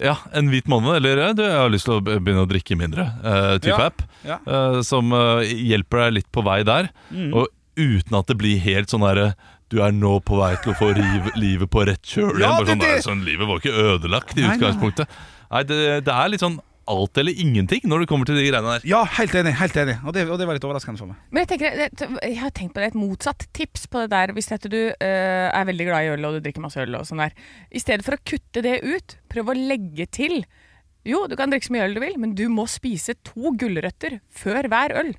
[SPEAKER 6] ja, en hvit måned. Eller eh, du, jeg har lyst til å be- begynne å drikke mindre. eh, type
[SPEAKER 2] Ja,
[SPEAKER 6] app.
[SPEAKER 2] ja.
[SPEAKER 6] eh, som eh, hjelper deg litt på vei der.
[SPEAKER 2] Mm.
[SPEAKER 6] Og uten at det blir helt sånn derre du er nå på vei til å få riv, livet på rett kjøl.
[SPEAKER 2] Ja, det-
[SPEAKER 6] igjen. Bare sånn, nei,
[SPEAKER 2] det-
[SPEAKER 6] sånn, livet var ikke ødelagt i
[SPEAKER 2] Nei, nei, nei.
[SPEAKER 6] utgangspunktet. Nei, det, det er litt sånn alt eller ingenting når det kommer til de greiene der.
[SPEAKER 2] Ja, helt enig. helt enig Og det, og det var litt overraskende for meg.
[SPEAKER 4] Men jeg, tenker, jeg har tenkt på det, et motsatt tips på det der hvis at du eh, er veldig glad i øl og du drikker masse øl og sånn der. I stedet for å kutte det ut, prøv å legge til. Jo, du kan drikke så mye øl du vil, men du må spise to gulrøtter før hver øl.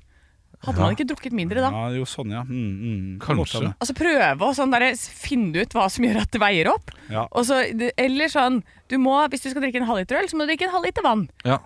[SPEAKER 4] Hadde man ikke drukket mindre da?
[SPEAKER 2] Ja, jo, sånn, ja. Mm, mm.
[SPEAKER 6] Kanskje.
[SPEAKER 2] Godt,
[SPEAKER 4] Altså prøve å sånn der, finne ut hva som gjør at det veier opp.
[SPEAKER 2] Ja.
[SPEAKER 4] Og så, eller sånn, du må, hvis du skal drikke en halvliter øl, så må du drikke en halvliter vann.
[SPEAKER 6] Ja.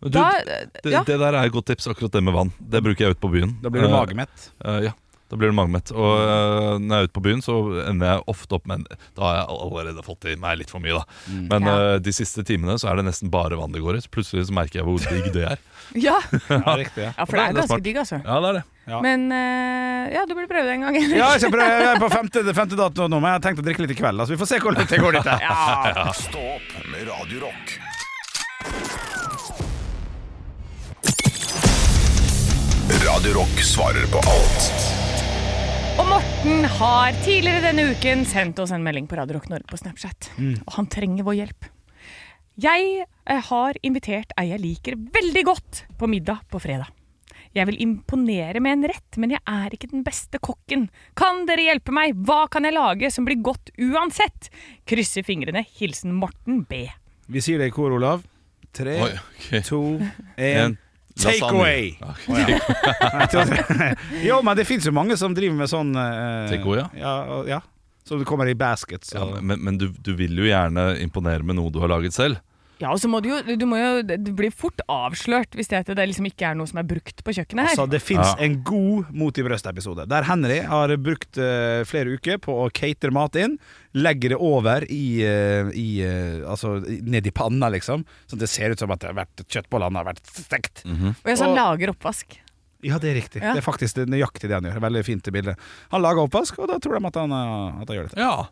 [SPEAKER 6] Du,
[SPEAKER 4] Da, eh,
[SPEAKER 6] Det,
[SPEAKER 4] ja.
[SPEAKER 6] det der er et godt tips, akkurat det med vann. Det bruker jeg ute på byen.
[SPEAKER 2] Da blir du
[SPEAKER 6] Eh,
[SPEAKER 2] magemett.
[SPEAKER 6] eh, ja, da blir du magemett. Og eh, når jeg er ute på byen, så ender jeg ofte opp med en Da har jeg allerede fått i meg litt for mye, da. Men
[SPEAKER 4] Ja.
[SPEAKER 6] eh, de siste timene så er det nesten bare vann det går i. Så plutselig så merker jeg hvor digg det er.
[SPEAKER 4] Ja.
[SPEAKER 2] Ja, riktig, ja.
[SPEAKER 4] ja, for det er
[SPEAKER 6] Det er
[SPEAKER 4] ganske
[SPEAKER 6] smart.
[SPEAKER 4] digg altså.
[SPEAKER 6] Ja, det er det.
[SPEAKER 2] Ja.
[SPEAKER 4] Men eh, ja, du burde prøve det en gang.
[SPEAKER 2] Ja, jeg skal prøve jeg er på femte, femte dato nå, men jeg har tenkt å drikke litt i kveld. Altså, vi får se hvor langt det går. Dette.
[SPEAKER 1] Stå opp med Radio Rock. Radio Rock svarer på alt.
[SPEAKER 4] Og Morten har tidligere denne uken sendt oss en melding på Radio Rock Norge på Snapchat. Og han trenger vår hjelp. Jeg eh, har invitert ei jeg liker veldig godt på middag på fredag. Jeg vil imponere med en rett, men jeg er ikke den beste kokken. Kan dere hjelpe meg? Hva kan jeg lage som blir godt uansett? Krysser fingrene. Hilsen Morten B.
[SPEAKER 2] Vi sier det i kor, Olav. Tre,
[SPEAKER 6] Oi, ok.
[SPEAKER 2] to,
[SPEAKER 6] En
[SPEAKER 2] én Take
[SPEAKER 6] lasagne.
[SPEAKER 2] away!
[SPEAKER 6] Ja,
[SPEAKER 2] Nei, jeg tror- Jo, men det fins jo mange som driver med sånn eh,
[SPEAKER 6] Take away, ja.
[SPEAKER 2] Ja, og- ja. Så det kommer i baskets.
[SPEAKER 6] ja,
[SPEAKER 2] og-
[SPEAKER 6] men men du, du vil jo gjerne imponere med noe du har laget selv.
[SPEAKER 4] Ja, og så må du jo Du må jo Du blir fort avslørt hvis det, det liksom ikke er noe som er brukt på kjøkkenet her.
[SPEAKER 2] Altså, det fins
[SPEAKER 6] Ja.
[SPEAKER 2] en god Mot i brøst-episode, der Henry har brukt eh, flere uker på å catere mat inn. Legger det over i, eh, i eh, Altså i- ned i panna, liksom. Sånn at det ser ut som at det har vært kjøttbollene har vært stekt.
[SPEAKER 4] Og jeg så
[SPEAKER 2] og-
[SPEAKER 4] lager oppvask.
[SPEAKER 2] Ja, det er riktig.
[SPEAKER 4] Ja.
[SPEAKER 2] Det er faktisk det er nøyaktig det han gjør. Veldig fint det bildet. Han lager oppvask, og da tror de at han, eh, at han gjør det.
[SPEAKER 6] Ja.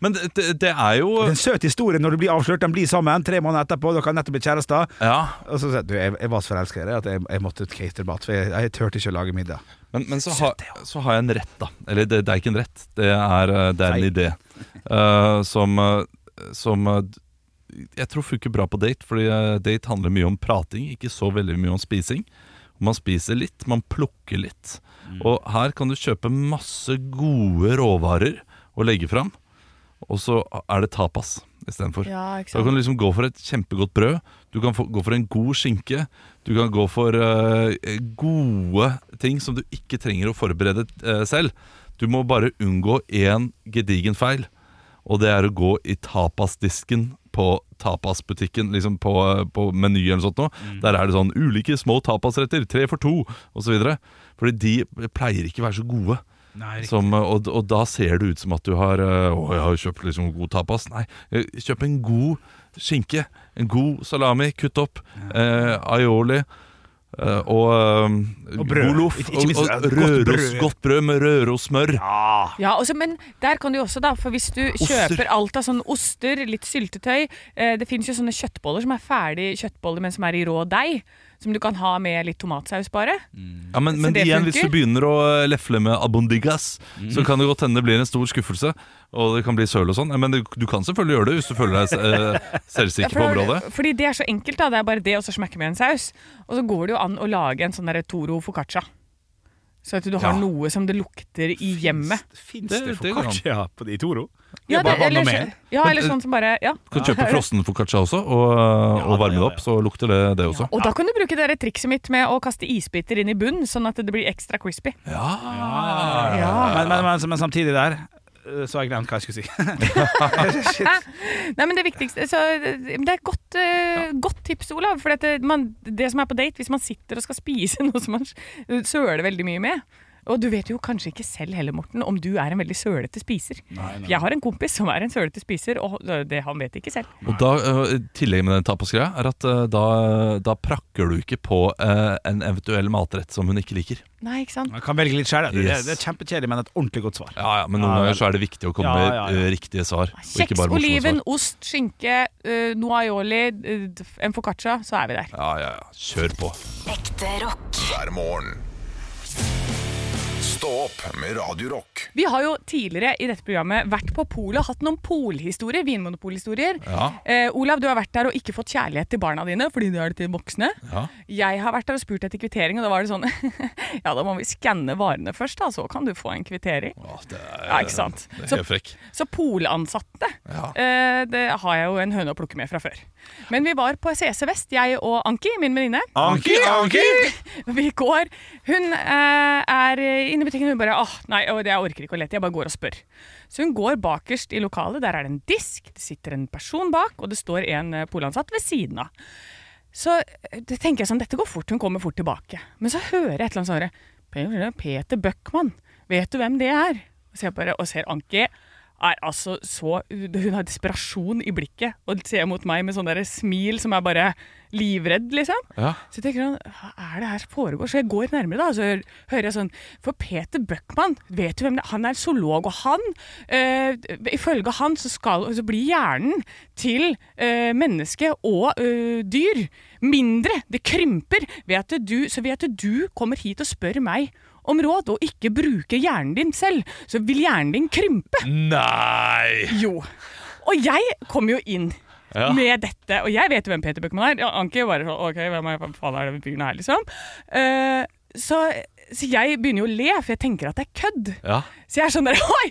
[SPEAKER 6] Men det, det, det er jo
[SPEAKER 2] Det er en søt historie når du blir avslørt. De blir sammen tre måneder etterpå, dere har nettopp blitt kjærester.
[SPEAKER 6] Ja,
[SPEAKER 2] Og så sier du, jeg, jeg var så forelska i deg at jeg, jeg måtte catere mat, for jeg, jeg turte ikke å lage middag.
[SPEAKER 6] Men, men så, har- så har jeg en rett, da. Eller det, det er ikke en rett, det er, eh, det er en idé. eh, som eh, som eh, jeg tror funker bra på date, fordi eh, date handler mye om prating, ikke så veldig mye om spising. Man spiser litt, man plukker litt. Og her kan du kjøpe masse gode råvarer og legge fram, og så er det tapas istedenfor.
[SPEAKER 4] Ja, ikke
[SPEAKER 6] Da kan du liksom gå for et kjempegodt brød, du kan få, gå for en god skinke, du kan gå for eh, gode ting som du ikke trenger å forberede eh, selv. Du må bare unngå én gedigen feil, og det er å gå i tapasdisken på tapasbutikken, liksom på, eh, på meny eller sånt noe. Der er det sånn ulike små tapasretter, tre for to, osv. Fordi de pleier ikke å være så gode. Som, eh, og, og da ser det ut som at du har eh, Å, jeg har kjøpt liksom god tapas. Nei, eh, kjøp en god skinke. En god salami, kutt opp. Eh, aioli. eh, og eh,
[SPEAKER 2] Og brød.
[SPEAKER 6] Goloff.
[SPEAKER 2] Ikke- ikke
[SPEAKER 6] Og,
[SPEAKER 2] minst,
[SPEAKER 6] og
[SPEAKER 2] eh, godt
[SPEAKER 6] røros,
[SPEAKER 2] brød.
[SPEAKER 6] godt brød med rørossmør.
[SPEAKER 4] Ja, også, men der kan du jo også da, for hvis du kjøper alt av sånne oster, litt syltetøy eh, Det finnes jo sånne kjøttboller som er ferdig kjøttboller, men som er i rå deig. som du kan ha med litt tomatsaus bare.
[SPEAKER 6] Ja, men,
[SPEAKER 4] Så
[SPEAKER 6] men
[SPEAKER 4] det
[SPEAKER 6] igjen,
[SPEAKER 4] funker?
[SPEAKER 6] hvis du begynner å eh, lefle med abondigas,
[SPEAKER 2] Mm.
[SPEAKER 6] så kan det godt hende det blir en stor skuffelse, og det kan bli søl og sånn. Men du, du kan selvfølgelig gjøre det hvis du føler deg eh,
[SPEAKER 4] Ja,
[SPEAKER 6] selvsikker
[SPEAKER 4] for
[SPEAKER 6] på
[SPEAKER 4] da-
[SPEAKER 6] området.
[SPEAKER 4] Fordi det er så enkelt, da. Det er bare det, og så smekke med en saus. Og så går det jo an å lage en sånn der Toro foccaccia. Så at du har
[SPEAKER 2] Ja.
[SPEAKER 4] noe som det lukter i hjemmet.
[SPEAKER 2] Fins
[SPEAKER 6] Det-
[SPEAKER 2] det
[SPEAKER 6] det går an.
[SPEAKER 2] foccaccia på de Toro?
[SPEAKER 4] Ja,
[SPEAKER 2] bare vann og
[SPEAKER 4] eller,
[SPEAKER 2] mel.
[SPEAKER 4] ja,
[SPEAKER 6] Men,
[SPEAKER 4] eller sånn som bare Ja.
[SPEAKER 6] Du kan kjøpe frossen foccaccia også, og, eh, og varme det
[SPEAKER 2] ja,
[SPEAKER 6] opp, så lukter det det også.
[SPEAKER 4] Og da kan du bruke det der trikset mitt med å kaste isbiter inn i bunnen, sånn at det blir ekstra crispy.
[SPEAKER 2] Ah. Men, men, men, men samtidig der øh, så har jeg glemt hva jeg skulle si.
[SPEAKER 4] Nei, men Det viktigste så, men Det er et godt, eh, godt tips, Olav. For det, man, det som er på date, hvis man sitter og skal spise noe som man s- eh, søler veldig mye med Og du vet jo kanskje ikke selv heller, Morten, om du er en veldig sølete spiser. Jeg har en kompis som er en sølete spiser, og det han vet ikke selv.
[SPEAKER 6] Og da, eh, Tillegget med den tapasgreia er at eh, da, da prakker du ikke på eh, en eventuell matrett som hun ikke liker.
[SPEAKER 4] Nei, ikke sant?
[SPEAKER 2] Man kan velge litt sjøl. Det,
[SPEAKER 6] Yes.
[SPEAKER 2] det er kjempekjedelig, men et ordentlig godt svar.
[SPEAKER 6] Ja, ja, Men noen
[SPEAKER 2] Ja, vel.
[SPEAKER 6] ganger så er det viktig å komme
[SPEAKER 2] Ja,
[SPEAKER 6] med
[SPEAKER 2] ja, ja.
[SPEAKER 6] eh, riktige svar. og ikke
[SPEAKER 4] Kjeks,
[SPEAKER 6] bare morsomme
[SPEAKER 4] oliven,
[SPEAKER 6] svar.
[SPEAKER 4] ost, skinke, eh, noaioli, eh, d- en foccaccia, så er vi der.
[SPEAKER 6] Ja, ja, ja. Kjør på.
[SPEAKER 3] Ekte rock.
[SPEAKER 1] hver morgen. Stå opp med Radio Rock.
[SPEAKER 4] Vi har jo tidligere i dette programmet vært på polet og hatt noen polhistorier. Vinmonopolhistorier.
[SPEAKER 6] Ja.
[SPEAKER 4] Eh, Olav, du har vært der og ikke fått kjærlighet til barna dine fordi du er det til voksne.
[SPEAKER 6] Ja.
[SPEAKER 4] Jeg har vært der og spurt etter kvittering, og da var det sånn Ja, da må vi skanne varene først, da, så kan du få en kvittering.
[SPEAKER 6] Å, det er,
[SPEAKER 4] Ja, ikke sant?
[SPEAKER 6] Det
[SPEAKER 4] Så-
[SPEAKER 6] er helt frekk.
[SPEAKER 4] Så polansatte,
[SPEAKER 6] Ja.
[SPEAKER 4] eh, det har jeg jo en høne å plukke med fra før. Men vi var på CC Vest, jeg og Anki, min venninne.
[SPEAKER 6] Anki, Anki!
[SPEAKER 4] Vi går. Hun eh, er inne i butikken, hun bare åh, nei, åh, det- jeg orker ikke å lete, jeg bare går og spør. Så hun går bakerst i lokalet, der er det en disk, det sitter en person bak, og det står en eh, polansatt ved siden av. Så eh, det tenker jeg sånn, dette går fort, hun kommer fort tilbake. Men så hører jeg et eller annet sånn, herre, Peter Bøckmann, vet du hvem det er? Og ser, jeg bare, og ser Anki, er altså så, hun har desperasjon i blikket, og ser mot meg med sånn der smil som er bare livredd, liksom.
[SPEAKER 6] Ja.
[SPEAKER 4] Så jeg tenker sånn, hva er det her som foregår? Så jeg går nærmere da, og så hører jeg sånn, for Peter Bøckmann, vet du hvem det er? Han er zoolog, og han, øh, ifølge han, så, skal, så blir hjernen til øh, menneske og øh, dyr mindre. Det krymper. Vet du, så vet du, du kommer hit og spør meg om råd, og ikke bruker hjernen din selv, så vil hjernen din krympe.
[SPEAKER 6] Nei!
[SPEAKER 4] Jo. Og jeg kom jo inn
[SPEAKER 6] Ja.
[SPEAKER 4] med dette, og jeg vet jo hvem Peter Bøckmann er. Ja, Anki var bare sånn OK, hvem er, hva faen er det fyren her, liksom? Eh, så, så jeg begynner jo å le, for jeg tenker at det er kødd.
[SPEAKER 6] Ja.
[SPEAKER 4] Så jeg er sånn der Oi!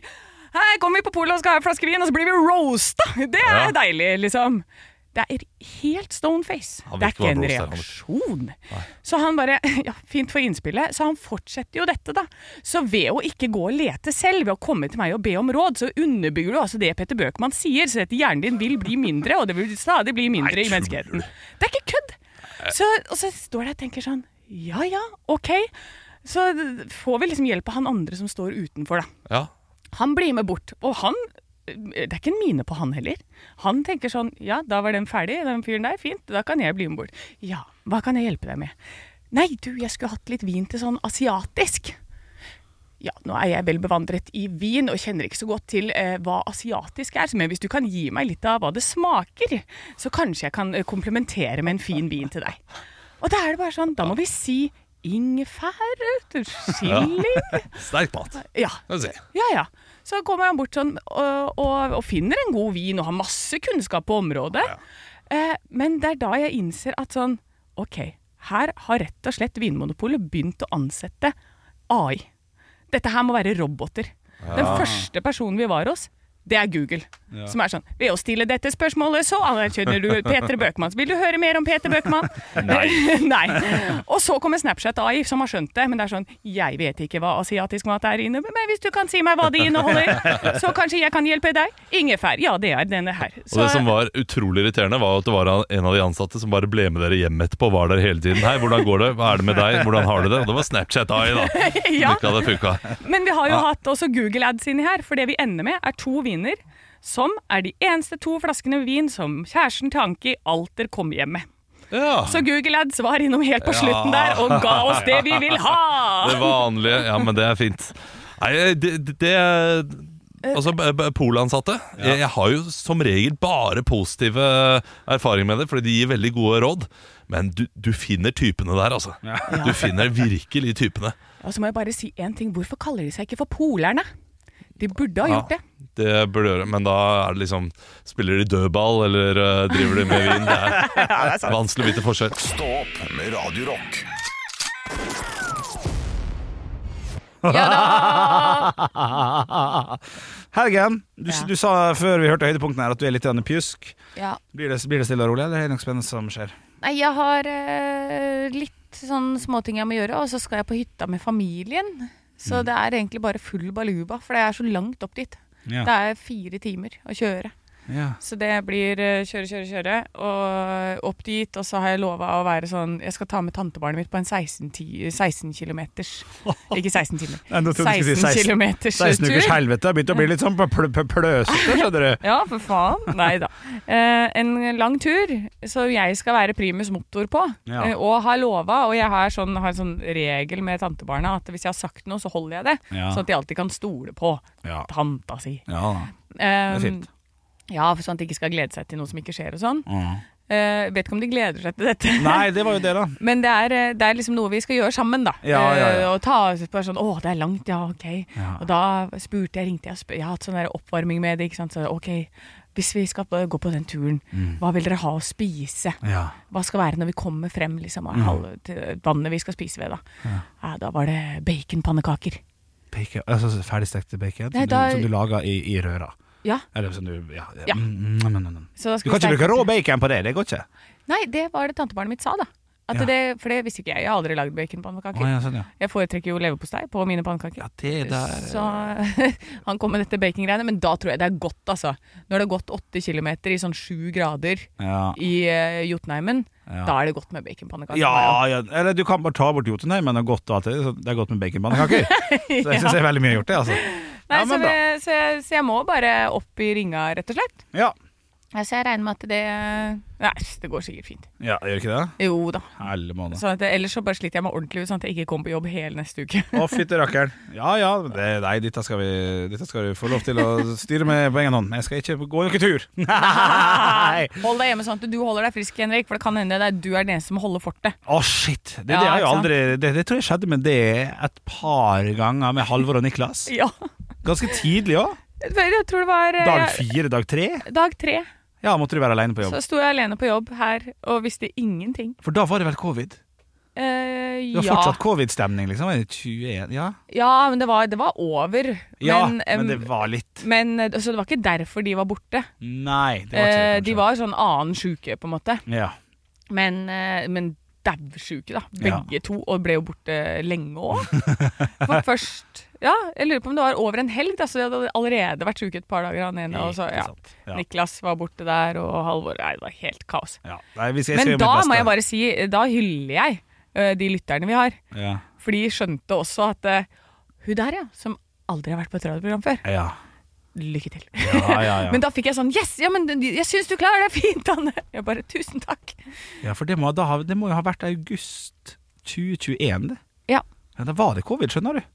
[SPEAKER 4] Her kommer vi på polet og skal ha en flaske vin, og så blir vi roasta! Det er
[SPEAKER 6] Ja.
[SPEAKER 4] deilig, liksom. Det er helt stone face.
[SPEAKER 6] Han
[SPEAKER 4] Det
[SPEAKER 6] vil
[SPEAKER 4] er
[SPEAKER 6] ikke være
[SPEAKER 4] ikke en
[SPEAKER 6] roast, han vil-
[SPEAKER 4] reaksjon. Så han bare Ja, fint for innspillet. Så han fortsetter jo dette, da. Så ved å ikke gå og lete selv, ved å komme til meg og be om råd, så underbygger du altså det Petter Bøckmann sier, så dette hjernen din vil bli mindre, og det vil stadig bli mindre i menneskeheten. Det er ikke kødd! Så, og så står jeg og tenker sånn Ja ja, OK. Så får vi liksom hjelp av han andre som står utenfor, da.
[SPEAKER 6] ja.
[SPEAKER 4] Han blir med bort, og han det er ikke en mine på han heller. Han tenker sånn Ja, da var den ferdig, den fyren der. Fint, da kan jeg bli med bort. Ja, hva kan jeg hjelpe deg med? Nei, du, jeg skulle hatt litt vin til sånn asiatisk. Ja, nå er jeg vel bevandret i vin og kjenner ikke så godt til eh, hva asiatisk er, men hvis du kan gi meg litt av hva det smaker, så kanskje jeg kan eh, komplementere med en fin vin til deg. Og da er det bare sånn, da må vi si ingefær, chili
[SPEAKER 6] Sterk mat.
[SPEAKER 4] Ja.
[SPEAKER 6] Skal vi se.
[SPEAKER 4] Ja, ja. Så kommer han bort sånn og, og, og finner en god vin og har masse kunnskap på området. Eh, men det er da jeg innser at sånn Ok, her har rett og slett Vinmonopolet begynt å ansette AI. Dette her må være roboter. Den første personen vi var hos, det er Google. Som er sånn Ved å stille dette spørsmålet, så anerkjenner du Peter Bøckmann. Vil du høre mer om Peter Bøckmann? Nei. Og så kommer Snapchat AI, som har skjønt det. Men det er sånn Jeg vet ikke hva asiatisk mat er inne, men hvis du kan si meg hva det inneholder, så kanskje jeg kan hjelpe deg. Ingefær. Ja, det er denne her.
[SPEAKER 6] Og Det som var utrolig irriterende, var jo at det var en av de ansatte som bare ble med dere hjem etterpå. og Var der hele tiden. Hei, hvordan går det? Hva er det med deg? Hvordan har du det? Og det var Snapchat-AI, da. som
[SPEAKER 4] Ja.
[SPEAKER 6] Ikke hadde funka.
[SPEAKER 4] Men vi har jo hatt også Google Ads inni her, for det vi ender med er to viner, som er de eneste to flaskene vin som kjæresten til Anki Alter kom hjem med.
[SPEAKER 6] Ja.
[SPEAKER 4] Så Google Ads var innom helt på slutten der og ga oss det vi vil ha!
[SPEAKER 6] Det vanlige. Ja, men det er fint. Nei, det, det, det Altså b- b- Polansatte. Jeg, jeg har jo som regel bare positive erfaringer med det, fordi de gir veldig gode råd. Men du, du finner typene der, altså. Du finner virkelig typene.
[SPEAKER 4] Og så må jeg bare si en ting. Hvorfor kaller de seg ikke for polerne? De burde ha gjort
[SPEAKER 6] Ja,
[SPEAKER 4] det.
[SPEAKER 6] det burde gjøre, men da er det liksom Spiller de dødball, eller eh, driver de med vin? Det er, vanskelig å vite forskjell.
[SPEAKER 1] Stå opp med Radio Rock.
[SPEAKER 2] Helgen, du,
[SPEAKER 4] Ja.
[SPEAKER 2] du sa før vi hørte høydepunktene her at du er litt grann pjusk.
[SPEAKER 12] Ja.
[SPEAKER 2] Blir det, blir det stille og rolig, eller er det noe spennende som skjer?
[SPEAKER 12] Nei, jeg har eh, litt sånn småting jeg må gjøre, og så skal jeg på hytta med familien. Så det er egentlig bare full baluba, for det er så langt opp dit.
[SPEAKER 2] Ja.
[SPEAKER 12] Det er fire timer å kjøre.
[SPEAKER 2] Ja.
[SPEAKER 4] Så det blir eh, kjøre, kjøre, kjøre. Og opp dit. Og så har jeg lova å være sånn Jeg skal ta med tantebarnet mitt på en 16, ti- 16 kilometers Ikke 16 timer.
[SPEAKER 2] Nei, nå trodde jeg skulle si 16.
[SPEAKER 4] 16 kilometers
[SPEAKER 2] 16 ukers
[SPEAKER 4] tur.
[SPEAKER 2] helvete har begynt å bli litt sånn pl- pl- pl- pløsete, skjønner du.
[SPEAKER 4] Ja, for faen. Nei da. Eh, en lang tur som jeg skal være primus motor på,
[SPEAKER 2] Ja.
[SPEAKER 4] eh, og har lova. Og jeg har, sånn, har en sånn regel med tantebarna at hvis jeg har sagt noe, så holder jeg det.
[SPEAKER 2] Ja.
[SPEAKER 4] Sånn at de alltid kan stole på
[SPEAKER 2] Ja.
[SPEAKER 4] tanta si.
[SPEAKER 2] Ja da.
[SPEAKER 4] Um,
[SPEAKER 2] fint.
[SPEAKER 4] Ja, for sånn at de ikke skal glede seg til noe som ikke skjer og sånn. Eh, vet ikke om de gleder seg til dette.
[SPEAKER 2] Nei, det var jo det, da.
[SPEAKER 4] Men det er, eh, det er liksom noe vi skal gjøre sammen, da.
[SPEAKER 2] Ja, ja, ja.
[SPEAKER 4] Eh, og ta oss bare sånn Å, det er langt, ja, ok. Og da spurte jeg, ringte jeg, og spør, jeg har hatt sånn der oppvarming med det, ikke sant. Så ok, hvis vi skal på- gå på den turen,
[SPEAKER 2] Mm.
[SPEAKER 4] hva vil dere ha å spise?
[SPEAKER 2] Ja.
[SPEAKER 4] Hva skal være når vi kommer frem, liksom, av halve- til vannet vi skal spise ved, da? Ja. da var det baconpannekaker.
[SPEAKER 2] Bacon, altså ferdigstekte bacon
[SPEAKER 4] Nei,
[SPEAKER 2] som,
[SPEAKER 4] da-
[SPEAKER 2] du, som du lager i, i røra.
[SPEAKER 4] Ja.
[SPEAKER 2] Eller som du Ja. ja.
[SPEAKER 4] Ja.
[SPEAKER 2] Mm, mm, mm, mm, mm.
[SPEAKER 4] Så da
[SPEAKER 2] Du kan
[SPEAKER 4] skal vi
[SPEAKER 2] ikke bruke
[SPEAKER 4] steke-
[SPEAKER 2] rå bacon på det, det går ikke.
[SPEAKER 4] Nei, det var det tantebarnet mitt sa, da. At
[SPEAKER 2] Ja.
[SPEAKER 4] det, for det visste ikke jeg. Jeg har aldri lagd
[SPEAKER 2] Å,
[SPEAKER 4] baconpannekaker.
[SPEAKER 2] ja, sånn, ja.
[SPEAKER 4] Jeg foretrekker jo leverpostei på mine pannekaker.
[SPEAKER 2] Ja, det der
[SPEAKER 4] Så han kom med dette baking-greiene, men da tror jeg det er godt, altså. Når det har gått åtte kilometer i sånn sju grader
[SPEAKER 2] Ja.
[SPEAKER 4] i eh, Jotunheimen,
[SPEAKER 2] Ja.
[SPEAKER 4] da er det godt med baconpannekaker.
[SPEAKER 2] Ja, ja, eller du kan bare ta bort Jotunheimen og godt og alt det der, så Det er godt med baconpannekaker. Så jeg syns det er veldig mye gjort, det, altså. Ja,
[SPEAKER 4] Nei, så,
[SPEAKER 2] men bra.
[SPEAKER 4] jeg, så, jeg, så jeg må bare opp i ringa, rett og slett.
[SPEAKER 2] Ja.
[SPEAKER 4] Ja, Så jeg regner med at det Nei, det går sikkert fint.
[SPEAKER 2] ja, gjør ikke det?
[SPEAKER 4] Jo da.
[SPEAKER 2] Helle måned.
[SPEAKER 4] Sånn at, ellers så bare sliter jeg meg ordentlig ut, sånn at jeg ikke kommer på jobb hele neste uke.
[SPEAKER 2] Å, fytti rakkeren. Ja ja, det, nei, dette skal, vi, dette skal du få lov til å styre med på egen hånd. Men jeg skal ikke gå noen tur. Nei!
[SPEAKER 4] Hold deg hjemme sånn at du holder deg frisk, Henrik, for det kan hende det er du er den eneste som holder fortet.
[SPEAKER 2] Å, shit! Det, det,
[SPEAKER 4] Ja,
[SPEAKER 2] har jo
[SPEAKER 4] ikke sant?
[SPEAKER 2] aldri, det, det tror jeg skjedde med det et par ganger med Halvor og Niklas.
[SPEAKER 4] Ja.
[SPEAKER 2] Ganske tidlig òg.
[SPEAKER 4] Jeg tror det var eh,
[SPEAKER 2] Dag fire, dag tre.
[SPEAKER 4] dag tre.
[SPEAKER 2] Ja, måtte du være aleine på jobb.
[SPEAKER 4] Så sto jeg alene på jobb her og visste ingenting.
[SPEAKER 2] For da var det vel covid?
[SPEAKER 4] Eh,
[SPEAKER 2] Det var
[SPEAKER 4] ja.
[SPEAKER 2] fortsatt covid-stemning, liksom? Er det 21? Ja,
[SPEAKER 4] ja, men det var, det var over.
[SPEAKER 2] ja
[SPEAKER 4] men,
[SPEAKER 2] men,
[SPEAKER 4] em,
[SPEAKER 2] det var litt
[SPEAKER 4] men, eh, så det var ikke derfor de var borte.
[SPEAKER 2] Nei, det var ikke
[SPEAKER 4] Eh,
[SPEAKER 2] det.
[SPEAKER 4] de var sånn annen sjuke, på en måte.
[SPEAKER 2] kanskje. ja.
[SPEAKER 4] Men, eh, men dauvsjuke, da.
[SPEAKER 2] Ja.
[SPEAKER 4] Begge to. Og ble jo borte lenge òg. For først Ja, jeg lurer på om det var over en helg, da, så de hadde allerede vært sjuke et par dager, han ene. Og så,
[SPEAKER 2] Ikke
[SPEAKER 4] ja.
[SPEAKER 2] sant. Ja.
[SPEAKER 4] Niklas var borte der, og Halvor Nei, det var helt kaos.
[SPEAKER 2] ja. Nei, vi skal, jeg skal
[SPEAKER 4] Men
[SPEAKER 2] gjøre mitt
[SPEAKER 4] da
[SPEAKER 2] beste.
[SPEAKER 4] må jeg bare si, da hyller jeg eh, de lytterne vi har.
[SPEAKER 2] ja.
[SPEAKER 4] For de skjønte også at eh, hun der, ja, som aldri har vært på et radioprogram før,
[SPEAKER 2] Ja.
[SPEAKER 4] lykke til.
[SPEAKER 2] Ja, ja, ja.
[SPEAKER 4] men da fikk jeg sånn Yes! Ja, men jeg syns du klarer det fint, Anne! Jeg bare Tusen takk.
[SPEAKER 2] ja, for det må, da, ha- det må jo ha vært august 2021, det.
[SPEAKER 4] Ja.
[SPEAKER 2] Ja, Da var det covid, skjønner du.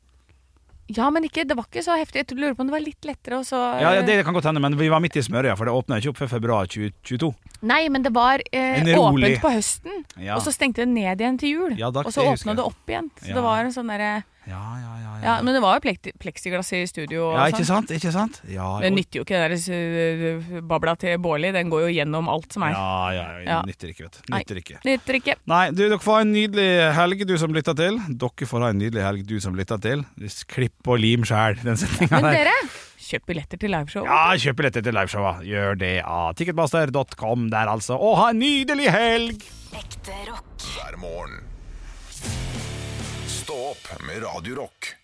[SPEAKER 4] Ja, men ikke, det var ikke så heftig. Jeg tror- lurer på om det var litt lettere, og så
[SPEAKER 2] Ja, ja,
[SPEAKER 4] eh,
[SPEAKER 2] Det kan godt hende, men vi var midt i smørøyet, for det åpna ikke opp før februar 2022.
[SPEAKER 4] Nei, men det var eh,
[SPEAKER 2] En rolig-
[SPEAKER 4] åpent på høsten,
[SPEAKER 2] Ja.
[SPEAKER 4] og så stengte det ned igjen til jul.
[SPEAKER 2] Ja, da-
[SPEAKER 4] og så
[SPEAKER 2] det husker jeg.
[SPEAKER 4] åpna det opp igjen. Så
[SPEAKER 2] Ja.
[SPEAKER 4] det var en sånn derre
[SPEAKER 2] Ja, ja, ja.
[SPEAKER 4] Ja, men det var jo plekti- pleksiglass i studio og
[SPEAKER 2] ja
[SPEAKER 4] sånn.
[SPEAKER 2] ikke sant? Ikke sant? Ja,
[SPEAKER 4] Det nytter jo ikke den der eh, babla til Bårli. Den går jo gjennom alt som er.
[SPEAKER 2] Ja, ja, ja,
[SPEAKER 4] Ja.
[SPEAKER 2] Nytter ikke, vet du.
[SPEAKER 4] Nei.
[SPEAKER 2] Nytter ikke.
[SPEAKER 4] Nytter ikke.
[SPEAKER 2] Nei, du, dere får ha en nydelig helg, du som lytter til. Dere får ha en nydelig helg, du som lytter til. Klipp og lim sjæl, den setninga
[SPEAKER 4] Men
[SPEAKER 2] der.
[SPEAKER 4] dere, kjøp billetter til liveshow.
[SPEAKER 2] Ja, kjøp billetter til liveshowa. Gjør det av ticketmaster.com der, altså. Og ha en nydelig helg!
[SPEAKER 3] Ekte rock.
[SPEAKER 1] hver morgen. Stå opp med Radio Rock.